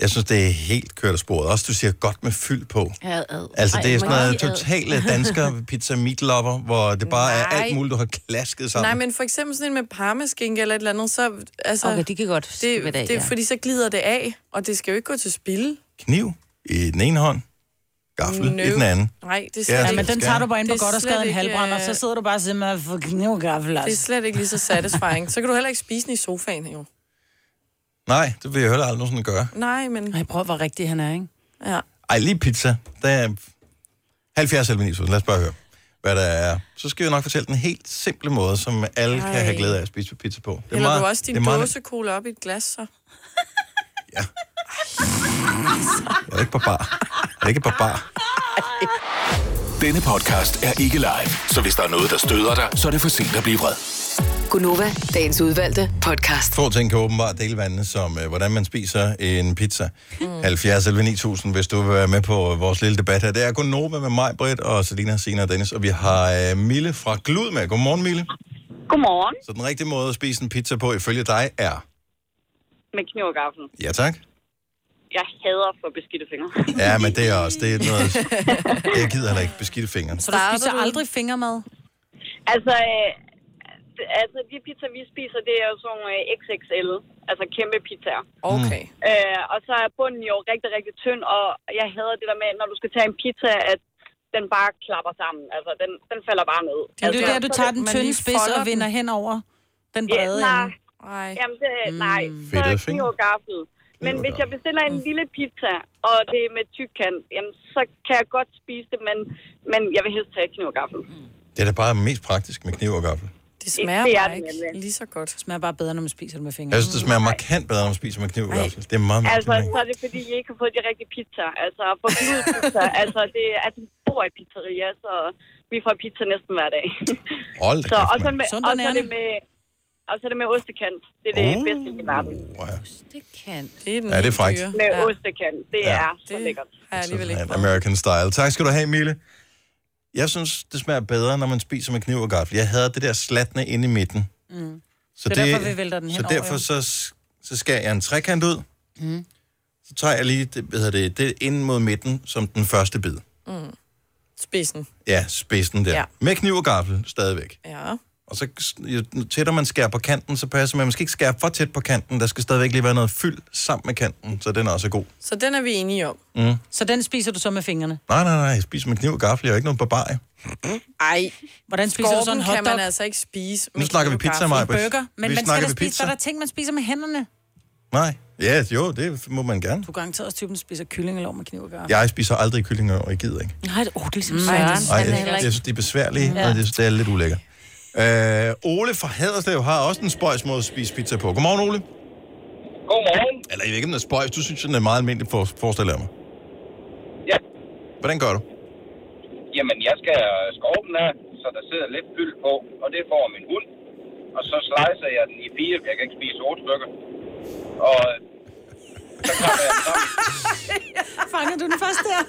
Jeg synes, det er helt kørt af sporet. Også du siger godt med fyld på.
Ad, ad.
Altså, det
Ej,
er sådan
må jeg
noget
sige ad?
totale dansker pizza meatlopper, hvor det bare er
Nej.
alt muligt, du har klasket sammen.
Nej, men for eksempel sådan en med parmaskinke eller et eller andet, så... Altså,
Okay, de kan godt
det,
skippe det af,
det,
ja.
Fordi så glider det af, og det skal jo ikke gå til spil.
Kniv i den ene hånd, gaffel i den anden.
Nej, det er slet
Ja,
ikke...
Ja, men den tager du bare ind på
Det er
godt og skade
slet
en
ikke,
halvbrænd, og
øh,
så sidder du bare simpelthen med for knivgaffel,
Det er
altså.
slet ikke lige så satisfying. Så kan du heller ikke spise den i sofaen, jo.
Nej, det vil jeg heller aldrig nogensinde gøre.
Nej, men...
Nej, prøv hvor rigtig han er, ikke?
Ja.
Ej, lige pizza. Der er 70 eller 9000. Lad os bare høre, hvad der er. Så skal jeg nok fortælle den helt simple måde, som alle Ej.
Ej.
kan have glæde af at spise pizza på.
Eller du også
det
din
er meget-
dåsekola op i et glas, så.
Jeg er ikke barbar. Jeg er ikke barbar.
Denne podcast er ikke live, så hvis der er noget, der støder dig, så er det for sent at blive vred.
Gunova, dagens udvalgte podcast.
Få ting kan åbenbart dele vandene, som øh, hvordan man spiser en pizza. Mm. 70 eller 9000, hvis du vil være med på øh, vores lille debat her. Det er kun Nova med mig, Britt, og Selina, Sina og Dennis. Og vi har øh, Mille fra Glud med. Godmorgen, Mille.
Godmorgen
Så den rigtige måde at spise en pizza på, ifølge dig, er...
med kniv og gaffel.
Ja, tak.
Jeg hader for beskidte fingre.
Ja, men det er også... Det er noget... Jeg gider heller ikke beskidte fingre.
Så du spiser aldrig fingermad?
Altså, øh, det- altså de pizza, vi spiser, det er jo sådan nogle øh, XXL, altså kæmpe pizzaer.
Okay.
Øh, og så er bunden jo rigtig, rigtig tynd, og jeg hader det der med, når du skal tage en pizza, at den bare klapper sammen. Altså, den, den falder bare ned.
Det er jo
altså,
der, du
så
tager
det-
den
man
tynde
lige
spids
folder
og
den.
vinder hen over den brede
ja,
ende.
nej. Jamen, det, nej. Mm. Så
Fedtede
er
fingre.
kniv og gaffel. Men hvis jeg bestiller en lille pizza, og det er med tyk kant, jamen, så kan jeg godt spise det, men, men jeg vil helst tage kniv og gaffel.
Det er da bare mest praktisk med kniv og gaffel.
Det smager
Det er
bare
det
ikke
nemlig.
lige så godt. Det
smager bare bedre, når man spiser det med
Jeg
fingrene.
synes, det smager markant bedre, når man spiser med kniv og gaffel. Det er meget
Altså,
mærkeligt.
så er det fordi, I ikke har fået de rigtige pizzaer. Altså, på pizza, altså, det er, at vi bor i pizzeria, så vi får pizza næsten hver dag.
Hold da
så, og
kæft,
så med,
mand.
og så er det med, og så er det med ostekant. Det er det
Oh.
bedste i verden.
Ostekant.
Det er,
den Ja, det er helt frækt. dyre.
Med
Ja.
ostekant. Det
Ja.
er så lækkert.
har jeg alligevel ikke
Sådan, American style. Tak skal du have, Mille. Jeg synes, det smager bedre, når man spiser med kniv og gaffel. Jeg havde det der slatne inde i midten.
Mm. Så det er derfor, vi vælter den
Så
henover,
derfor
jo.
så, så skærer jeg en trekant ud.
Mm.
Så tager jeg lige det, hvad hedder det, det ind mod midten som den første bid.
Mm. Spidsen.
Ja, spidsen der.
Ja.
Ja. Med kniv og gaffel stadigvæk.
Ja.
Og så jo tættere man skærer på kanten, så passer man. Man skal ikke skære for tæt på kanten. Der skal stadigvæk lige være noget fyld sammen med kanten, så den er også god.
Så den er vi enige om.
Mm.
Så den spiser du så med fingrene?
Nej, nej, nej. Jeg spiser med kniv og gaffel. Jeg er ikke nogen barbar. jo.
Ej.
Hvordan spiser du sådan en
kan
hotdog?
man altså ikke spise.
Nu snakker vi pizza, Maja.
Burger. Men
vi
man skal
snakker
da
vi
spise,
pizza.
hvad der er ting, man spiser med hænderne.
Nej. Ja, jo, det må man gerne.
Du er garanteret også typen, der spiser kyllingelov med kniv og gaffel.
Jeg spiser aldrig kyllinger, og jeg gider ikke.
Nej, det- åh, det er ligesom
Mm, Nej,
Søren.
jeg, jeg, jeg synes, de er besværlige,
Ja.
og det, det er lidt ulækkert. Øh, Ole fra Haderslev har også en spøjs måde at spise pizza på. Godmorgen, Ole.
Godmorgen.
Eller jeg ved ikke, om den er spøjs. Du synes, den er meget almindelig, for, forestiller jeg mig.
Ja.
Hvordan gør du?
Jamen, jeg skal skove den af, så der sidder lidt fyld på, og det får min hund. Og så slicer jeg den i fire, for jeg kan ikke spise otte stykker. Og
Fanger du den først der?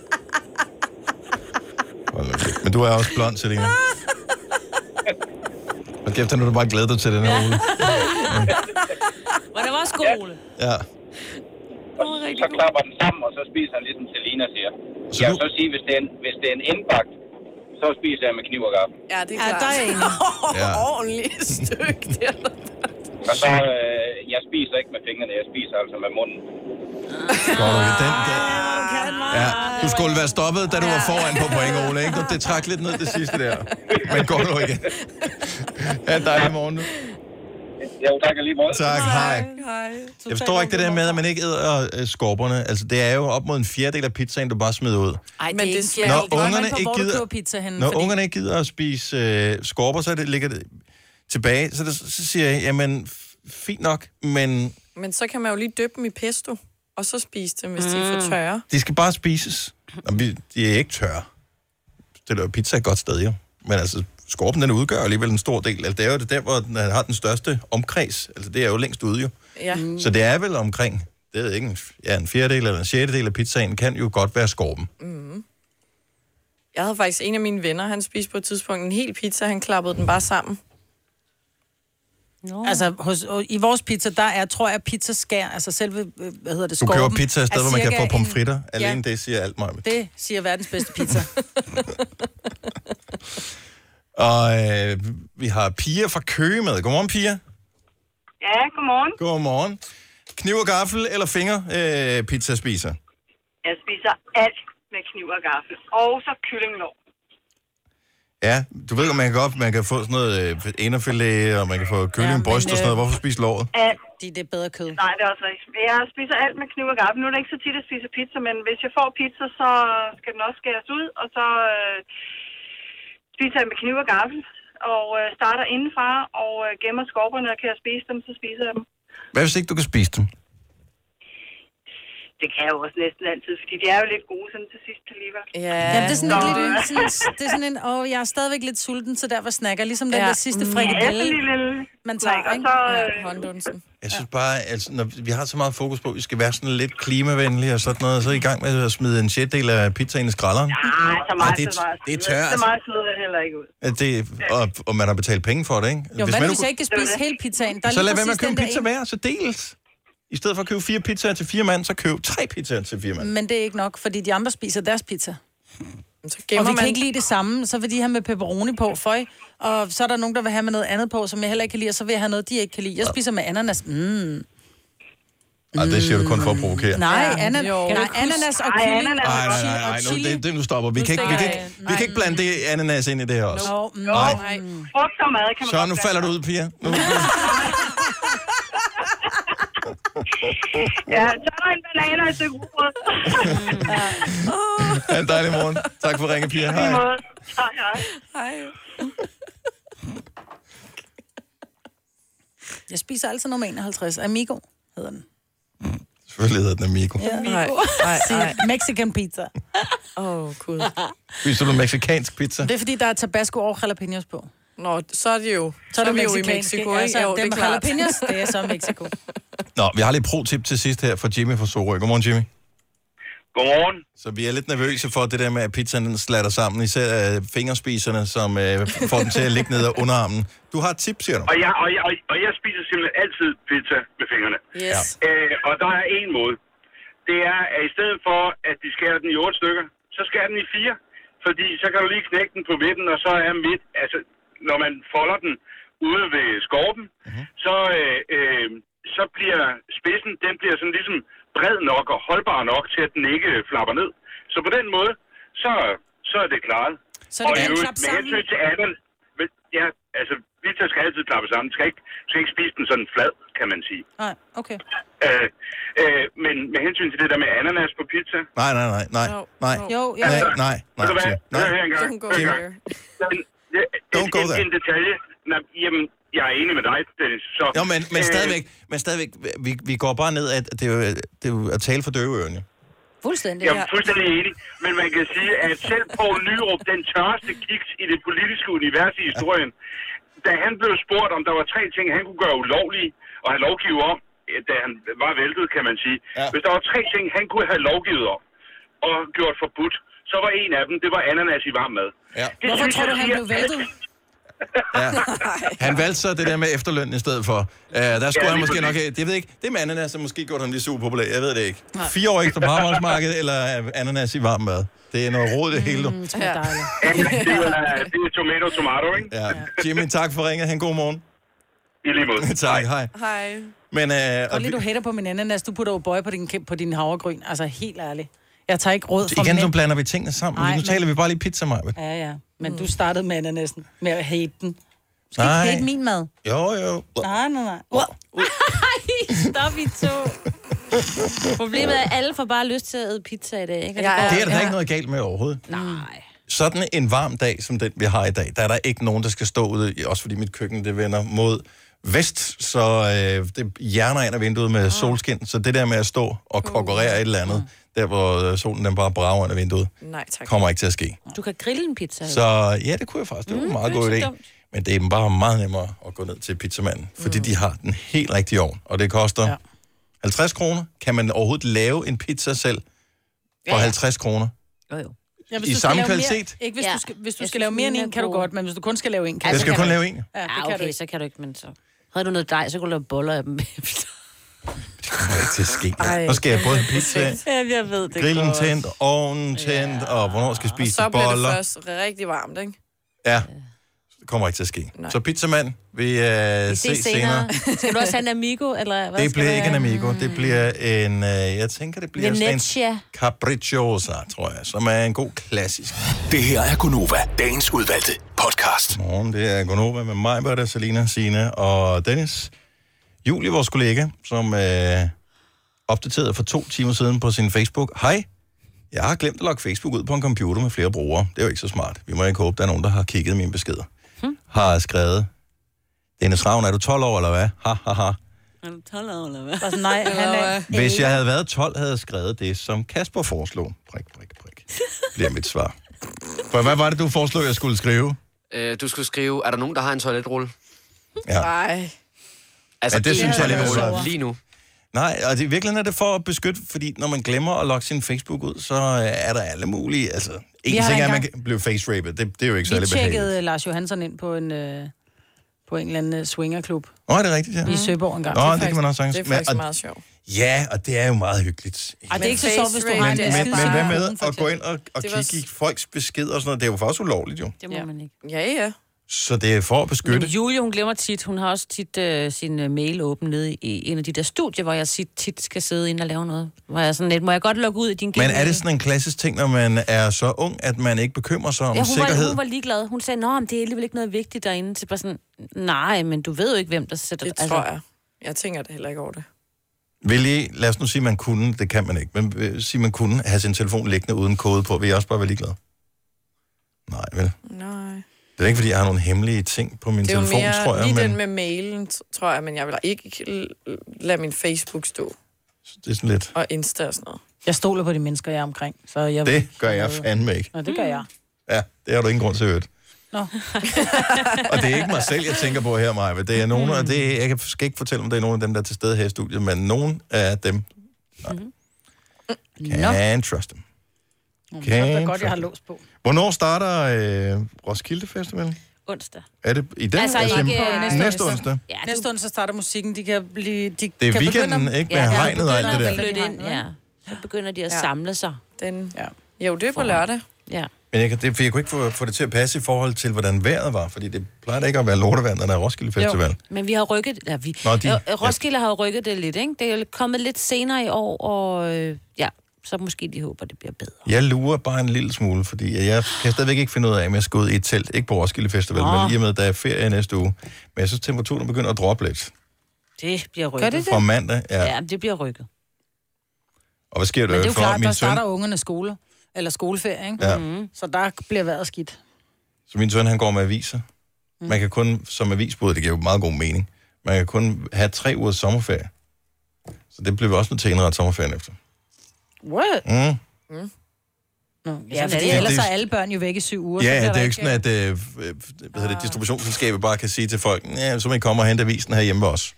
Men du er også blond, Selina. Og kæft, nu har du bare glædet dig til den her, Ole.
Var det var også god, Ole?
Ja.
så klapper den sammen, og så spiser han ligesom Selina siger. Så jeg vil så sige, hvis det er en, hvis det er en indbagt, så spiser jeg med kniv og gaffel.
Ja, det er klart. Ja, der er en.
Ja.
Ordentligt stykke der.
Og så, øh, jeg spiser ikke med fingrene, jeg spiser altså med munden.
Godt, okay. Den, den. Ja, du skulle være stoppet, da du var foran på point, Ole. Ikke? Det trak lidt ned det sidste der. Men går nu igen. Ha' en dejlig morgen nu.
Jo, tak lige måde.
Tak, hej.
Hej.
Jeg forstår ikke det der med, at man ikke æder øh, skorperne. Altså, det er jo op mod en fjerdedel af pizzaen, du bare smider ud.
Ej, men det er svært.
Når
Det kommer an
ungerne
på,
ikke
hvor du
gider-
køber pizza henne,
Når
fordi-
ungerne ikke gider at spise øh, skorper, så er det, ligger det tilbage. Så, det, så siger jeg, jamen, f- fint nok, men
Men så kan man jo lige dyppe dem i pesto, og så spise dem, hvis mm. de er for tørre.
de skal bare spises. Nå, vi, de er ikke tørre. Det er jo pizza et godt sted, jo. Men altså, skorpen, den udgør alligevel en stor del. Altså, det er jo det der, hvor den har den største omkreds. Altså, det er jo længst ude, jo.
Ja. Mm.
Så det er vel omkring, det er ikke, en, ja, en fjerdedel eller en sjettedel af pizzaen, kan jo godt være skorpen.
Mm. Jeg havde faktisk en af mine venner, han spiste på et tidspunkt en hel pizza, han klappede den bare sammen.
No. Altså, hos, i vores pizza, der er, tror jeg, pizzaskær, altså selve, øh, hvad hedder det,
Du
skorpen.
køber pizza et sted,
er
hvor man kan
cirka
få
en-
pomfritter. En...
Ja,
Alene det siger alt mig.
det siger verdens bedste pizza.
Og øh, vi har Pia fra Køge med. Godmorgen, Pia.
Ja, godmorgen.
Godmorgen. Kniv og gaffel eller finger øh, pizza spiser?
Jeg spiser alt med kniv og gaffel. Og så kyllinglår.
Ja, du ved, at man kan, godt, man kan få sådan noget øh, inderfilet, og man kan få kyllingbryst ja, og sådan
øh,
noget. Hvorfor spise låret?
Alt.
De, det er bedre kød.
Nej, det er også rigtigt. Jeg spiser alt med kniv og gaffel. Nu er det ikke så tit, at jeg spiser pizza, men hvis jeg får pizza, så skal den også skæres ud, og så øh, spiser jeg med kniv og gaffel. Og øh, starter indenfra og øh, gemmer skorperne, og kan jeg spise dem, så spiser jeg dem.
Hvad hvis ikke du kan spise dem?
Det kan jeg jo også næsten altid, fordi de er jo lidt gode sådan til sidst alligevel.
Ja,
Ja, det er sådan en lille, sådan, en- det er sådan en, åh, jeg er stadigvæk lidt sulten, så derfor snakker jeg. Ligesom den
Ja. Mm.
der sidste
Ja,
frikadelle,
sådan en lille
man tager, ikke?
øh,
Ja, hånddunsen.
Jeg synes bare, altså, når vi har så meget fokus på, at vi skal være sådan lidt klimavenlige og sådan noget, og så er I i gang med at smide en sjettedel af pizzaen i skralderen.
Nej, så meget,
Ej, det,
så meget.
det er tørre,
Så
altså.
meget sidder jeg heller ikke ud.
At Det, og, og man har betalt penge for det, ikke?
Jo, hvad
man
nu,
nu
hvis jeg ikke kan spise hele pizzaen? Der er
Så
lige
lad være med at
præcis
købe en
den
pizza
der
hver, så dels. I stedet for at købe fire pizzaer til fire mand, så køb tre pizzaer til fire mand.
Men det er ikke nok, fordi de andre spiser deres pizza.
gemmer
og vi kan
man-
ikke lide det samme, så vil de have med pepperoni på, føj. Og så er der nogen, der vil have med noget andet på, som jeg heller ikke kan lide, og så vil jeg have noget, de ikke kan lide. Jeg spiser med ananas. Mm.
Nej, det siger du kun for at provokere.
Nej,
nej,
anan-
jo.
nej, ananas og kylling.
nej, nej, nej, nu, det, det, nu stopper. Vi kan, ikke, vi, kan ikke, vi kan ikke blande det ananas ind i det her også.
Jo,
Nej.
mm.
frugt og mad kan man
Så
godt
nu
blande.
falder du ud, Pia. Nu,
Ja, så er der en banan og et stykke rugbrød.
Oh, ha' en dejlig morgen. Tak for at ringe, Pia. Hej.
Hej, hej.
Hej.
Jeg spiser altid nummer 51. Amigo hedder den.
Selvfølgelig hedder den Amigo.
Amigo.
nej, nej.
Mexican pizza.
Åh, oh, gud.
Spiser du mexikansk pizza?
Det er fordi, der er tabasco og jalapenos på.
Nå, så er det jo. Så
Så
er,
er
det
det
vi jo i
mexicanske.
Mexico, ikke?
Altså,
jo,
dem med jalapenos, det er så Mexico.
Nå, vi har lidt pro-tip til sidst her fra Jimmy fra Sorø. Godmorgen, Jimmy.
Godmorgen.
Så vi er lidt nervøse for det der med, at pizzaen den slatter sammen, især øh, fingerspiserne, som øh, får den til at ligge ned ad underarmen. Du har et tip, siger du?
Og jeg, og, jeg, og- og jeg spiser simpelthen altid pizza med fingrene.
Yes.
Øh, og der er en måde. Det er, at i stedet for, at de skærer den i otte stykker, så skærer den i fire. Fordi så kan du lige knække den på midten, og så er midt... Altså, når man folder den ude ved skorpen, mm-hmm. så, øh, øh, så bliver spidsen, den bliver sådan ligesom bred nok og holdbar nok til, at den ikke øh, flapper ned. Så på den måde, så, så er det klaret.
Så er det
og i
bare at
øvrigt,
klappe
med
sammen.
hensyn til ananas, med, ja, altså, vi tager skal altid klappe sammen. Du skal, ikke, du skal ikke spise den sådan flad, kan man sige.
Nej, okay.
Øh, øh, men med hensyn til det der med ananas på pizza...
Nej, nej, nej, nej, nej.
Jo, ja.
Nej, nej, nej,
Ved du hvad?
siger- nej.
Hør her engang. Hør her engang. En-
Don't go
en-
there.
En detalje. Nå, jamen, jeg er enig med dig, Dennis. Så,
Jo, men, men stadigvæk, men stadigvæk vi, vi går bare ned, at det er, jo- det er jo at tale for døve ørerne.
Fuldstændig.
Jeg er fuldstændig enig, men man kan sige, at selv Poul Nyrup, den tørreste kiks i det politiske univers i historien, da han blev spurgt, om der var tre ting, han kunne gøre ulovlige, og han lovgivet om, eh, da han var væltet, kan man sige. Ja. Hvis der var tre ting, han kunne have lovgivet om, og gjort forbudt, så var en af dem, det var ananas i varm mad.
Ja.
Hvorfor tror du, han blev væltet?
Ja. Han valgte så det der med efterløn i stedet for. Uh, der
Ja,
skulle ja, han
lige
måske nok
præcis.
have, det ved jeg ikke, det med ananas har måske gjort ham lige super populær, jeg ved det ikke. Fire år ekstra på arbejdsmarkedet, eller øh, ananas i varm mad. Det er noget råd det hele.
Mm.
du.
Ja. det, er, det er tomato, tomato, ikke?
Ja. Jimmy, tak for ringet. Han god morgen.
I lige måde.
tak, hej.
Hej.
Men, øh,
Og lige du hætter på min ananas, du putter jo bøje på din, kæm- på din havregryn. Altså helt ærligt. Jeg tager ikke råd fra
igen, nu
mænd.
blander vi tingene sammen.
Nej,
nu
men-
taler vi bare lige pizza, Maja.
Ja, ja. Men
Mm.
du startede med ananasen, med at hate den. Du skal
Nej.
ikke hate min mad.
Jo, jo.
Nej, nej, nej.
Stop i to. Problemet er, at alle får bare lyst til at æde pizza i dag, ikke? Og
Ja,
går-
det er der ja. ikke noget galt med overhovedet.
Nej.
Sådan en varm dag, som den vi har i dag, der er der ikke nogen, der skal stå ude, i- også fordi mit køkken det vender mod vest, så øh, det hjerner ind af vinduet med solskin, så det der med at stå og konkurrere et eller andet, der hvor øh, solen den bare brager ind af vinduet,
Nej, tak.
kommer ikke til at ske.
Du kan grille en pizza. jo.
Så ja, det kunne jeg faktisk. Det var en meget
det er
god
ikke så
idé. Men det er bare meget nemmere at gå ned til pizzamanden, fordi de har den helt rigtige ovn, og det koster ja. 50 kroner. Kan man overhovedet lave en pizza selv for 50 kroner?
Jo, jo.
Ja, hvis
I
du skal
samme
lave mere-
kvalitet?
Ikke, hvis,
Ja.
du skal, hvis du
Jeg
skal
synes,
lave mere end
mine er
en, kan du
gode.
godt, men hvis du kun skal lave en, kan
Jeg
du
skal
ikke.
kun lave en. Ja,
Ja, det
Ah,
kan du
okay,
ikke.
så kan du ikke, men så... Havde du noget dej, så kunne du lave boller af dem bagefter.
ikke til at ske. Nu skal jeg både have pizza,
Jamen, jeg ved det
grillen
godt.
tændt, ovnen tændt, og hvornår skal jeg
Og
spise
så bliver det
boller.
først rigtig varmt, ikke?
Ja, det kommer ikke til at ske. Så pizzamand, vi, øh,
Vi
ses senere.
Skal du også have en amigo, eller hvad
Det
skal
bliver
du
ikke en
have?
amigo, det bliver en, øh, jeg tænker, det bliver sådan en
Venetia.
Capricciosa, tror jeg, som er en god klassisk.
Det her er Gunova, dagens udvalgte podcast.
Godmorgen, det er Gonova med mig, Berta, Selina, Sine og Dennis. Julie, vores kollega, som øh, opdaterede for to timer siden på sin Facebook. Hej, jeg har glemt at logge Facebook ud på en computer med flere brugere. Det er jo ikke så smart. Vi må ikke håbe, der er nogen, der har kigget mine beskeder. Hmm. Har skrevet, Dennis Ravn, er du 12 år eller hvad? Ha, ha, ha.
Er du 12 år, eller hvad?
Bare sådan, nej, han er...
Hvis jeg havde været 12, havde jeg skrevet det, som Kasper foreslog. Prik, prik, prik. Bliver mit svar. For hvad var det, du foreslog, jeg skulle skrive?
Øh, du skulle skrive, er der nogen, der har en toiletrulle?
Ja.
Nej.
Altså, ja, det synes jeg alligevel
toiletrulle
var-
Lige nu.
Nej, og det, i virkeligheden er det for at beskytte, fordi når man glemmer at logge sin Facebook ud, så øh, er der alle mulige, altså... En
har
ting er, at man
engang-
kan blive face-rapet. Det, det er jo ikke
Vi
særlig behageligt.
tjekkede øh, Lars Johansson ind på en, øh, på en eller anden øh, swingerklub.
Nå, er det rigtigt, ja? Mm.
I Søborg engang.
Nå, det, det kan man også sagtens.
Det er faktisk
og,
meget sjovt.
Ja, og det er jo meget hyggeligt.
Ej, det er ikke så sjovt, hvis du
men,
har
men,
en
men,
skide
men hvad
stor
med
kugle, for
at gå ind og, og
Det var
kigge i folks beskeder og sådan noget? Det er jo faktisk ulovligt, jo.
Det må man ikke.
Ja, ja.
Så det er for at
Men
beskytte.
Julie, hun glemmer tit, hun har også tit øh, sin øh, mail åben nede i en af de der studier, hvor jeg sit, tit skal sidde ind og lave noget. Hvor jeg sådan lidt, må jeg godt logge ud i din
Men
Gmail?
er det sådan en klassisk ting, når man er så ung, at man ikke bekymrer sig om
ja, hun
sikkerhed?
Var, hun var ligeglad. Hun sagde, nå, men det er alligevel ikke noget vigtigt derinde. Så bare sådan, nej, men du ved jo ikke, hvem der sætter... Altså-
Det tror jeg. Jeg tænker det heller ikke over det.
Vil I, lad os nu sige, at man kunne, det kan man ikke, men øh, sige, at man kunne have sin telefon liggende uden kode på, vil I også bare være ligeglad? Nej, vel?
Nej.
Det er ikke, fordi jeg har nogle hemmelige ting på min
det er jo
telefon,
mere
tror jeg,
lige
men
den med mailen, t- tror jeg, men jeg vil da ikke l- lade min Facebook stå
det er sådan lidt.
og Insta og sådan noget.
Jeg stoler på de mennesker, jeg er omkring. Så jeg
Det gør jeg fandme ikke.
Nå, det gør jeg.
Ja, det har du ingen grund til at høre.
Nå.
Og det er ikke mig selv, jeg tænker på her, Maja. Det er nogen, og det, jeg kan- skal ikke fortælle, om det er nogen af dem, der er til stede her i studiet, men nogen af dem,
Mm.
nej. Can't trust dem.
Så er det da
Can't
godt, jeg har
trust dem.
lås på.
Hvornår starter øh, Roskilde Festival?
Onsdag.
Er det i den?
Altså, ikke,
jamen,
øh,
næste, onsdag.
Ja,
næste onsdag starter musikken. De kan blive... De
Det er
kan
weekenden,
begynde at-
ikke? Med Ja, regnet og alt det
Begynder
der.
at flytte ind, ja. Så begynder de at
Ja.
samle sig.
Den, ja. Jo, det er på lørdag.
Ja.
Men jeg, kan, det, for jeg kunne ikke få, få det til at passe i forhold til, hvordan vejret var, fordi det plejer da ikke at være lortevejr, når der er Roskilde Festival. Jo.
Men vi har rykket... Ja, vi,
Nå, de-
Øh, Roskilde har jo rykket det lidt, ikke? Det er jo kommet lidt senere i år, og øh, ja, så måske de håber, det bliver bedre.
Jeg lurer bare en lille smule, fordi jeg kan stadigvæk ikke finde ud af, om jeg skal ud i et telt. Ikke på Roskilde Festival,
Nå.
men i og med, at der er ferie næste uge. Men jeg synes, temperaturen begynder at droppe lidt.
Det bliver rykket.
Gør det det?
Fra mandag, ja.
Ja, det bliver rykket.
Og hvad sker
Men det er
der
jo
for
klart, der
min søn?
starter ungerne skole. Eller skoleferie, ikke?
Ja.
Mhm.
Mm. Så der bliver vejret skidt.
Så min søn, han går med aviser.
Mm.
Man kan kun, som avisbud, det giver jo meget god mening, man kan kun have tre ugers sommerferie. Så det bliver vi også nødt til at indrette sommerferien efter.
What?
Mm.
Nå,
Mhm. ja,
ja,
fordi
fordi ellers
det-
er alle børn jo væk i syv uger. så
Ja,
bliver
det er
der
jo ikke sådan, at øh, f- øh, hvad hedder
Ah.
det, distributionsselskabet bare kan sige til folk, ja, så må I komme og hente avisen her hjemme også.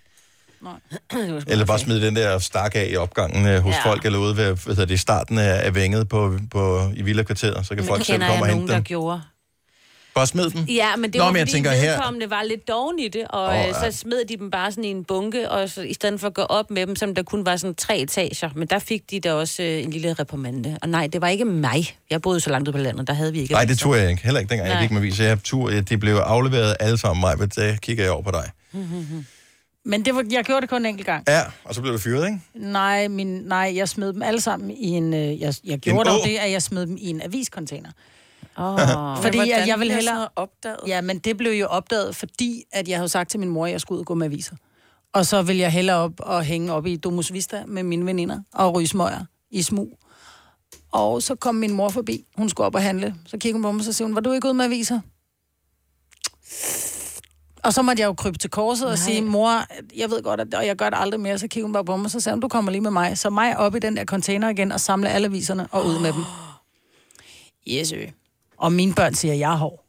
Eller bare smide den der stak af i opgangen øh, hos
Ja.
ja. folk, eller ude ved, hvad hedder det, i starten af, af vænget på, på, i villakvarteret, så kan folk selv
kender
komme og
jeg
hente
nogen, der
dem.
gjorde.
Bare smid dem.
Ja, men det
Nå,
var,
men jeg
fordi
tænker her,
vedkommende var lidt doven i det, og
Åh,
oh,
ja.
så smed de dem bare sådan i en bunke, og så, i stedet for at gå op med dem, som der kun var sådan tre etager, men der fik de da også øh, en lille reprimande. Og nej, det var ikke mig. Jeg boede så langt ude på landet, der havde vi ikke.
Nej, det
aviser.
turde jeg ikke. Heller ikke dengang, Nej.
Nej.
jeg gik med aviser. Jeg tur, de blev afleveret alle sammen mig, men der kigger jeg over på dig.
Men det var, jeg gjorde det kun en enkelt gang.
Ja, og så blev du fyret, ikke?
Nej, min, nej, jeg smed dem alle sammen i en... øh, Jeg, jeg gjorde
En
dog
å?
det, at jeg smed dem i en aviscontainer.
Oh.
Fordi
hvordan
jeg, jeg ville
bliver sådan
hellere...
opdaget?
Ja, men det blev jo opdaget, fordi at jeg havde sagt til min mor, at jeg skulle ud og gå med aviser. Og så ville jeg hellere op og hænge op i Domus Vista med mine veninder og ryge smøger i smug. Og så kom min mor forbi. Hun skulle op og handle. Så kiggede hun på mig, og så siger hun, var du ikke ude med aviser? Og så måtte jeg jo krybe til korset Nej. og sige, mor, jeg ved godt, at, og jeg gør det aldrig mere. Så kiggede hun bare på mig, og så sagde hun, du kommer lige med mig. Så mig op i den der container igen og samle alle aviserne og ud med dem. Yes, ø. Og mine børn siger, jeg er hård.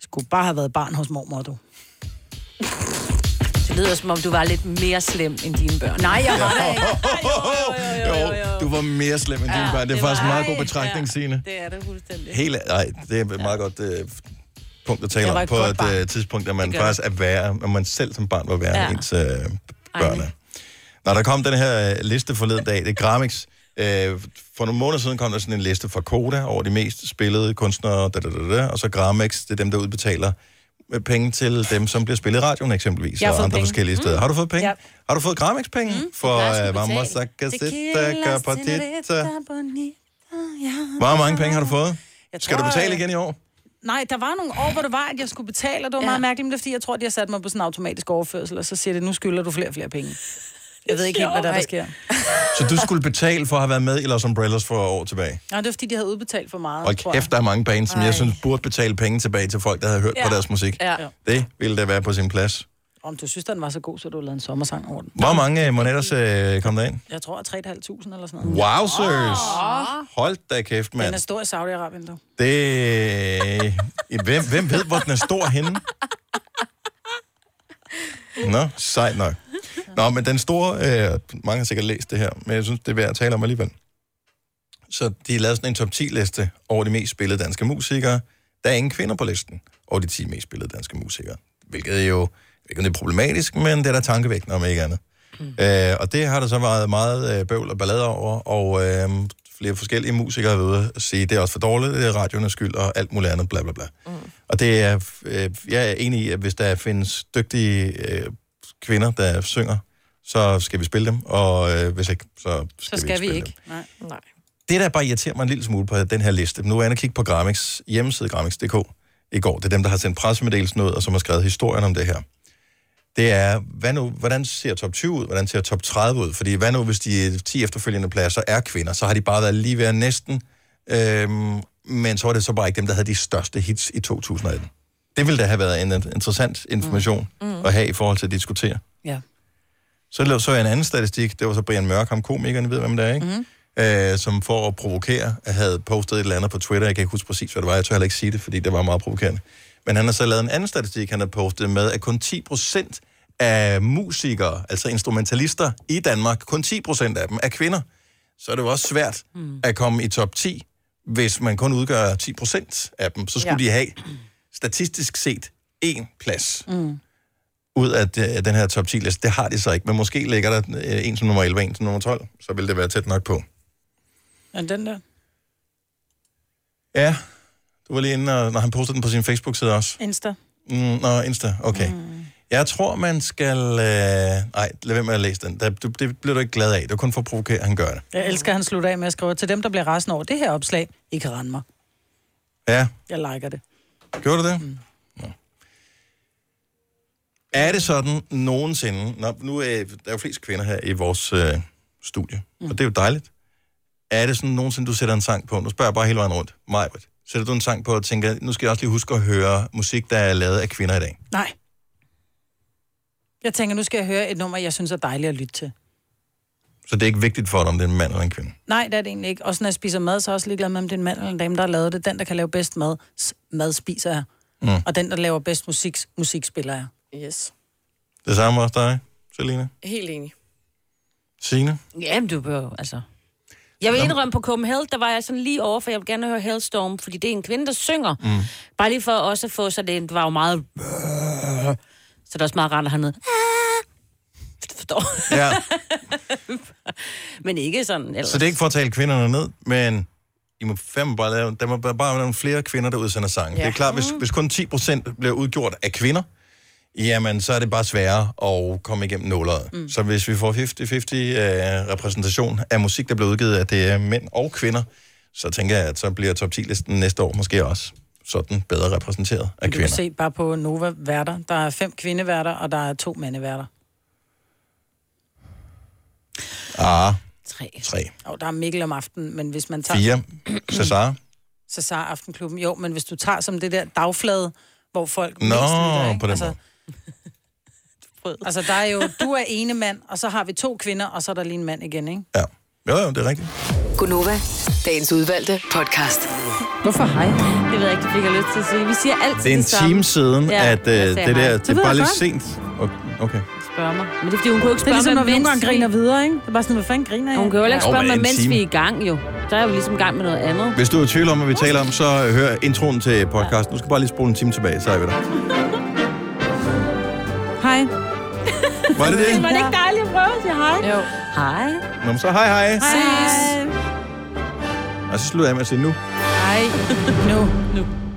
Skulle bare have været barn hos mormor, du.
Det lyder som om, du var lidt mere slem end dine børn.
Nej, jeg var
det ikke.
Jo, du var mere slem end dine børn. Det er faktisk en meget god betragtning, Signe.
Det er det fuldstændig.
Helt, nej, det er et meget godt øh, punkt at tale
Jeg var
om
et
på
godt
et
barn.
øh, tidspunkt, at man
Det gør
faktisk er værre, at man selv som barn var værre
Ja.
ja. ens øh, børn er. Når der kom den her øh, liste forleden dag, det er Gramix. Øh, for nogle måneder siden kom der sådan en liste fra Koda over de mest spillede kunstnere, da, da, da, da, og så Gramix, det er dem, der udbetaler øh, penge til dem, som bliver spillet i radioen eksempelvis,
Jeg har
og
fået
andre
penge. Mm.
forskellige steder. Har du fået penge? Har du fået Gramix-penge? Mm, for øh, Vamos Sacasita Capatita. øh? Hvor mange penge har du fået? Skal du
tror,
betale
øh,
igen i år?
Nej, der var nogle år, hvor det var, at jeg skulle betale, og det var ja. meget mærkeligt, men det er fordi, jeg tror, at de har sat mig på sådan en automatisk overførsel, og så siger det, nu skylder du flere og flere penge. Jeg ved ikke helt, hvad der, der sker.
Så du skulle betale for at have været med i Los Umbrellas for år tilbage?
Nej, det er fordi, de havde udbetalt for meget,
Og
tror
kæft, der er mange bands, som jeg synes burde betale penge tilbage til folk, der havde hørt
Ja.
på deres musik.
Ja.
Det ville da være på sin plads.
Om du synes, den var så god, så du lavede en sommersang over den.
Hvor mange øh, monetters øh, kom der ind?
Jeg tror, at 3.500 eller sådan noget.
Wowzers!
Åh.
Hold da kæft,
Den
mand.
er stor i Saudi-Arabien, du.
Det... øh, Hvem, hvem ved, hvor den er stor henne? Nå, sejt nok. Nå, men den store... Øh, mange har sikkert læst det her, men jeg synes, det er værd at tale om alligevel. Så de lavede sådan en top 10-liste over de mest spillede danske musikere. Der er ingen kvinder på listen over de 10 mest spillede danske musikere. Hvilket er jo ikke det er problematisk, men det er da tankevækkende om ikke andet. Mm. Øh, og det har der så været meget øh, bøvl og ballade over, og øh, flere forskellige musikere har været ude at sige, det er også for dårligt, det er radioen er skyld og alt muligt andet, bla bla bla. Mm. Og det er, øh, jeg er enig i, at hvis der findes dygtige øh, kvinder, der synger, så skal vi spille dem, og øh, hvis ikke, så skal,
Så skal vi
spille
ikke. Nej. Nej.
det, der bare irriterer mig en lille smule på den her liste, nu er jeg inde og kigge på Gramix, hjemmeside Gramix.dk i går, det er dem, der har sendt pressemeddelelsen ud, og som har skrevet historien om det her. Det er, hvad nu, hvordan ser top 20 ud, hvordan ser top 30 ud? Fordi hvad nu, hvis de 10 efterfølgende pladser er kvinder, så har de bare været lige ved at næsten, øhm, men så var det så bare ikke dem, der havde de største hits i 2018. Det ville da have været en en interessant information mm. Mm. at have i forhold til at diskutere.
Ja.
Så lå- så jeg en anden statistik, det var så Brian Mørk, ham komikeren, I ved hvem det er, ikke? Mm øh, som for at provokere, havde postet et eller andet på Twitter. Jeg kan ikke huske præcis, hvad det var. Jeg tør heller ikke sige det, fordi det var meget provokerende. Men han har så lavet en anden statistik, han har postet med, at kun 10 procent af musikere, altså instrumentalister i Danmark, kun 10 procent af dem er kvinder. Så er det jo også svært mm. at komme i top 10, hvis man kun udgør 10 procent af dem. Så skulle
Ja.
ja. de have, statistisk set, én plads
Mm.
ud af de- den her top 10-liste. Det har de så ikke, men måske ligger der øh, en som nummer 11 og en som nummer 12. Så vil det være tæt nok på.
Er det den der?
Ja, du var lige inde, og, når han postede den på sin Facebook-side også.
Insta.
Mm, nå, Insta, okay. Mm. Jeg tror, man skal... Øh... Ej, lad være med at læse den. Der, du, det bliver du ikke glad af. Det er kun for at provokere, at han gør det.
Jeg elsker, at han slutter af med at skrive til dem, der bliver rasende over det her opslag. I kan rende mig.
Ja,
Jeg liker det.
gjorde du det? Mm. Er det sådan nogensinde... Nå, nu er der er jo flest kvinder her i vores øh, studie, mm. og det er jo dejligt. Er det sådan nogensinde, du sætter en sang på? Nu spørger jeg bare hele vejen rundt. Majbert, sætter du en sang på og tænker, nu skal jeg også lige huske at høre musik, der er lavet af kvinder i dag?
Nej. Jeg tænker, nu skal jeg høre et nummer, jeg synes er dejligt at lytte til.
Så det er ikke vigtigt for dig, om det er en mand eller en kvinde.
Nej, det er det egentlig ikke. Også når jeg spiser mad, så er jeg også ligeglad med, om det er en mand eller en dame, der har lavet det. Den, der kan lave bedst mad, s- mad spiser jeg.
Mm.
Og den, der laver bedst musik, musik spiller jeg. Yes.
Det samme også dig, Selina.
Helt enig.
Signe?
Jamen, du behøver, altså... Jeg vil indrømme på Copenhagen, der var jeg sådan lige over, for jeg vil gerne høre Hellstorm, fordi det er en kvinde, der synger. Mm. Bare lige for også at få, så det var jo meget... Så det er også meget rart at have noget... Forstår?
Ja.
Men ikke sådan ellers.
Så det er ikke for at tale kvinderne ned, men I må fandme bare lave, der må bare være nogle flere kvinder, der udsender sange. Ja.
Ja.
Det er klart, hvis,
Mm.
hvis kun 10% bliver udgjort af kvinder, jamen så er det bare sværere at komme igennem nåleret. Mm. Så hvis vi får 50-50 øh, repræsentation af musik, der bliver udgivet af det er mænd og kvinder, så tænker jeg, at så bliver top 10-listen næste år måske også sådan bedre repræsenteret af
Du kan
kvinder.
se bare på Nova værter. Der er fem kvindeværter, og der er to mandeværter.
Ah,
Tre.
Tre.
Og der er Mikkel om aftenen, men hvis man tager...
Fire. Cesar.
Cesar Aftenklubben. Jo, men hvis du tager som det der dagflade, hvor folk...
Nå,
mest lytter, ikke?
på den måde.
Altså, der er jo... Du er ene mand, og så har vi to kvinder, og så er der lige en mand igen, ikke?
Jo, jo, det er rigtigt.
Gunova, dagens udvalgte podcast.
Hvorfor hej? Det ved jeg ikke, det fik jeg lyst til at sige. Vi siger altid
Det er en
samme.
time siden,
Ja,
ja, at øh,
jeg
det
sagde
der,
hej.
det er
ved
bare
jeg
lidt
godt.
sent. Okay.
Spørger mig. Men det er, fordi hun kunne jo ikke
Det er
spørge
ligesom,
mig,
når vi nogle
mens
gange griner videre, ikke? Det er bare sådan, hvad fanden griner jeg?
Hun kan jo heller ikke
Jo,
spørge
men
mig,
en
mens
time.
vi er i gang, jo. Der er vi ligesom i gang med noget andet.
Hvis du er i tvivl om, hvad vi taler om, så øh, hør introen til podcasten. Nu skal du bare lige spole en time tilbage, så er vi der.
Hej.
Var det det?
Var det ikke dejligt at prøve at sige hej?
Jo.
Hej.
Nå, men så hej hej.
Hej.
Og så slutter jeg med at sige nu.
Hej. Nu. Nu.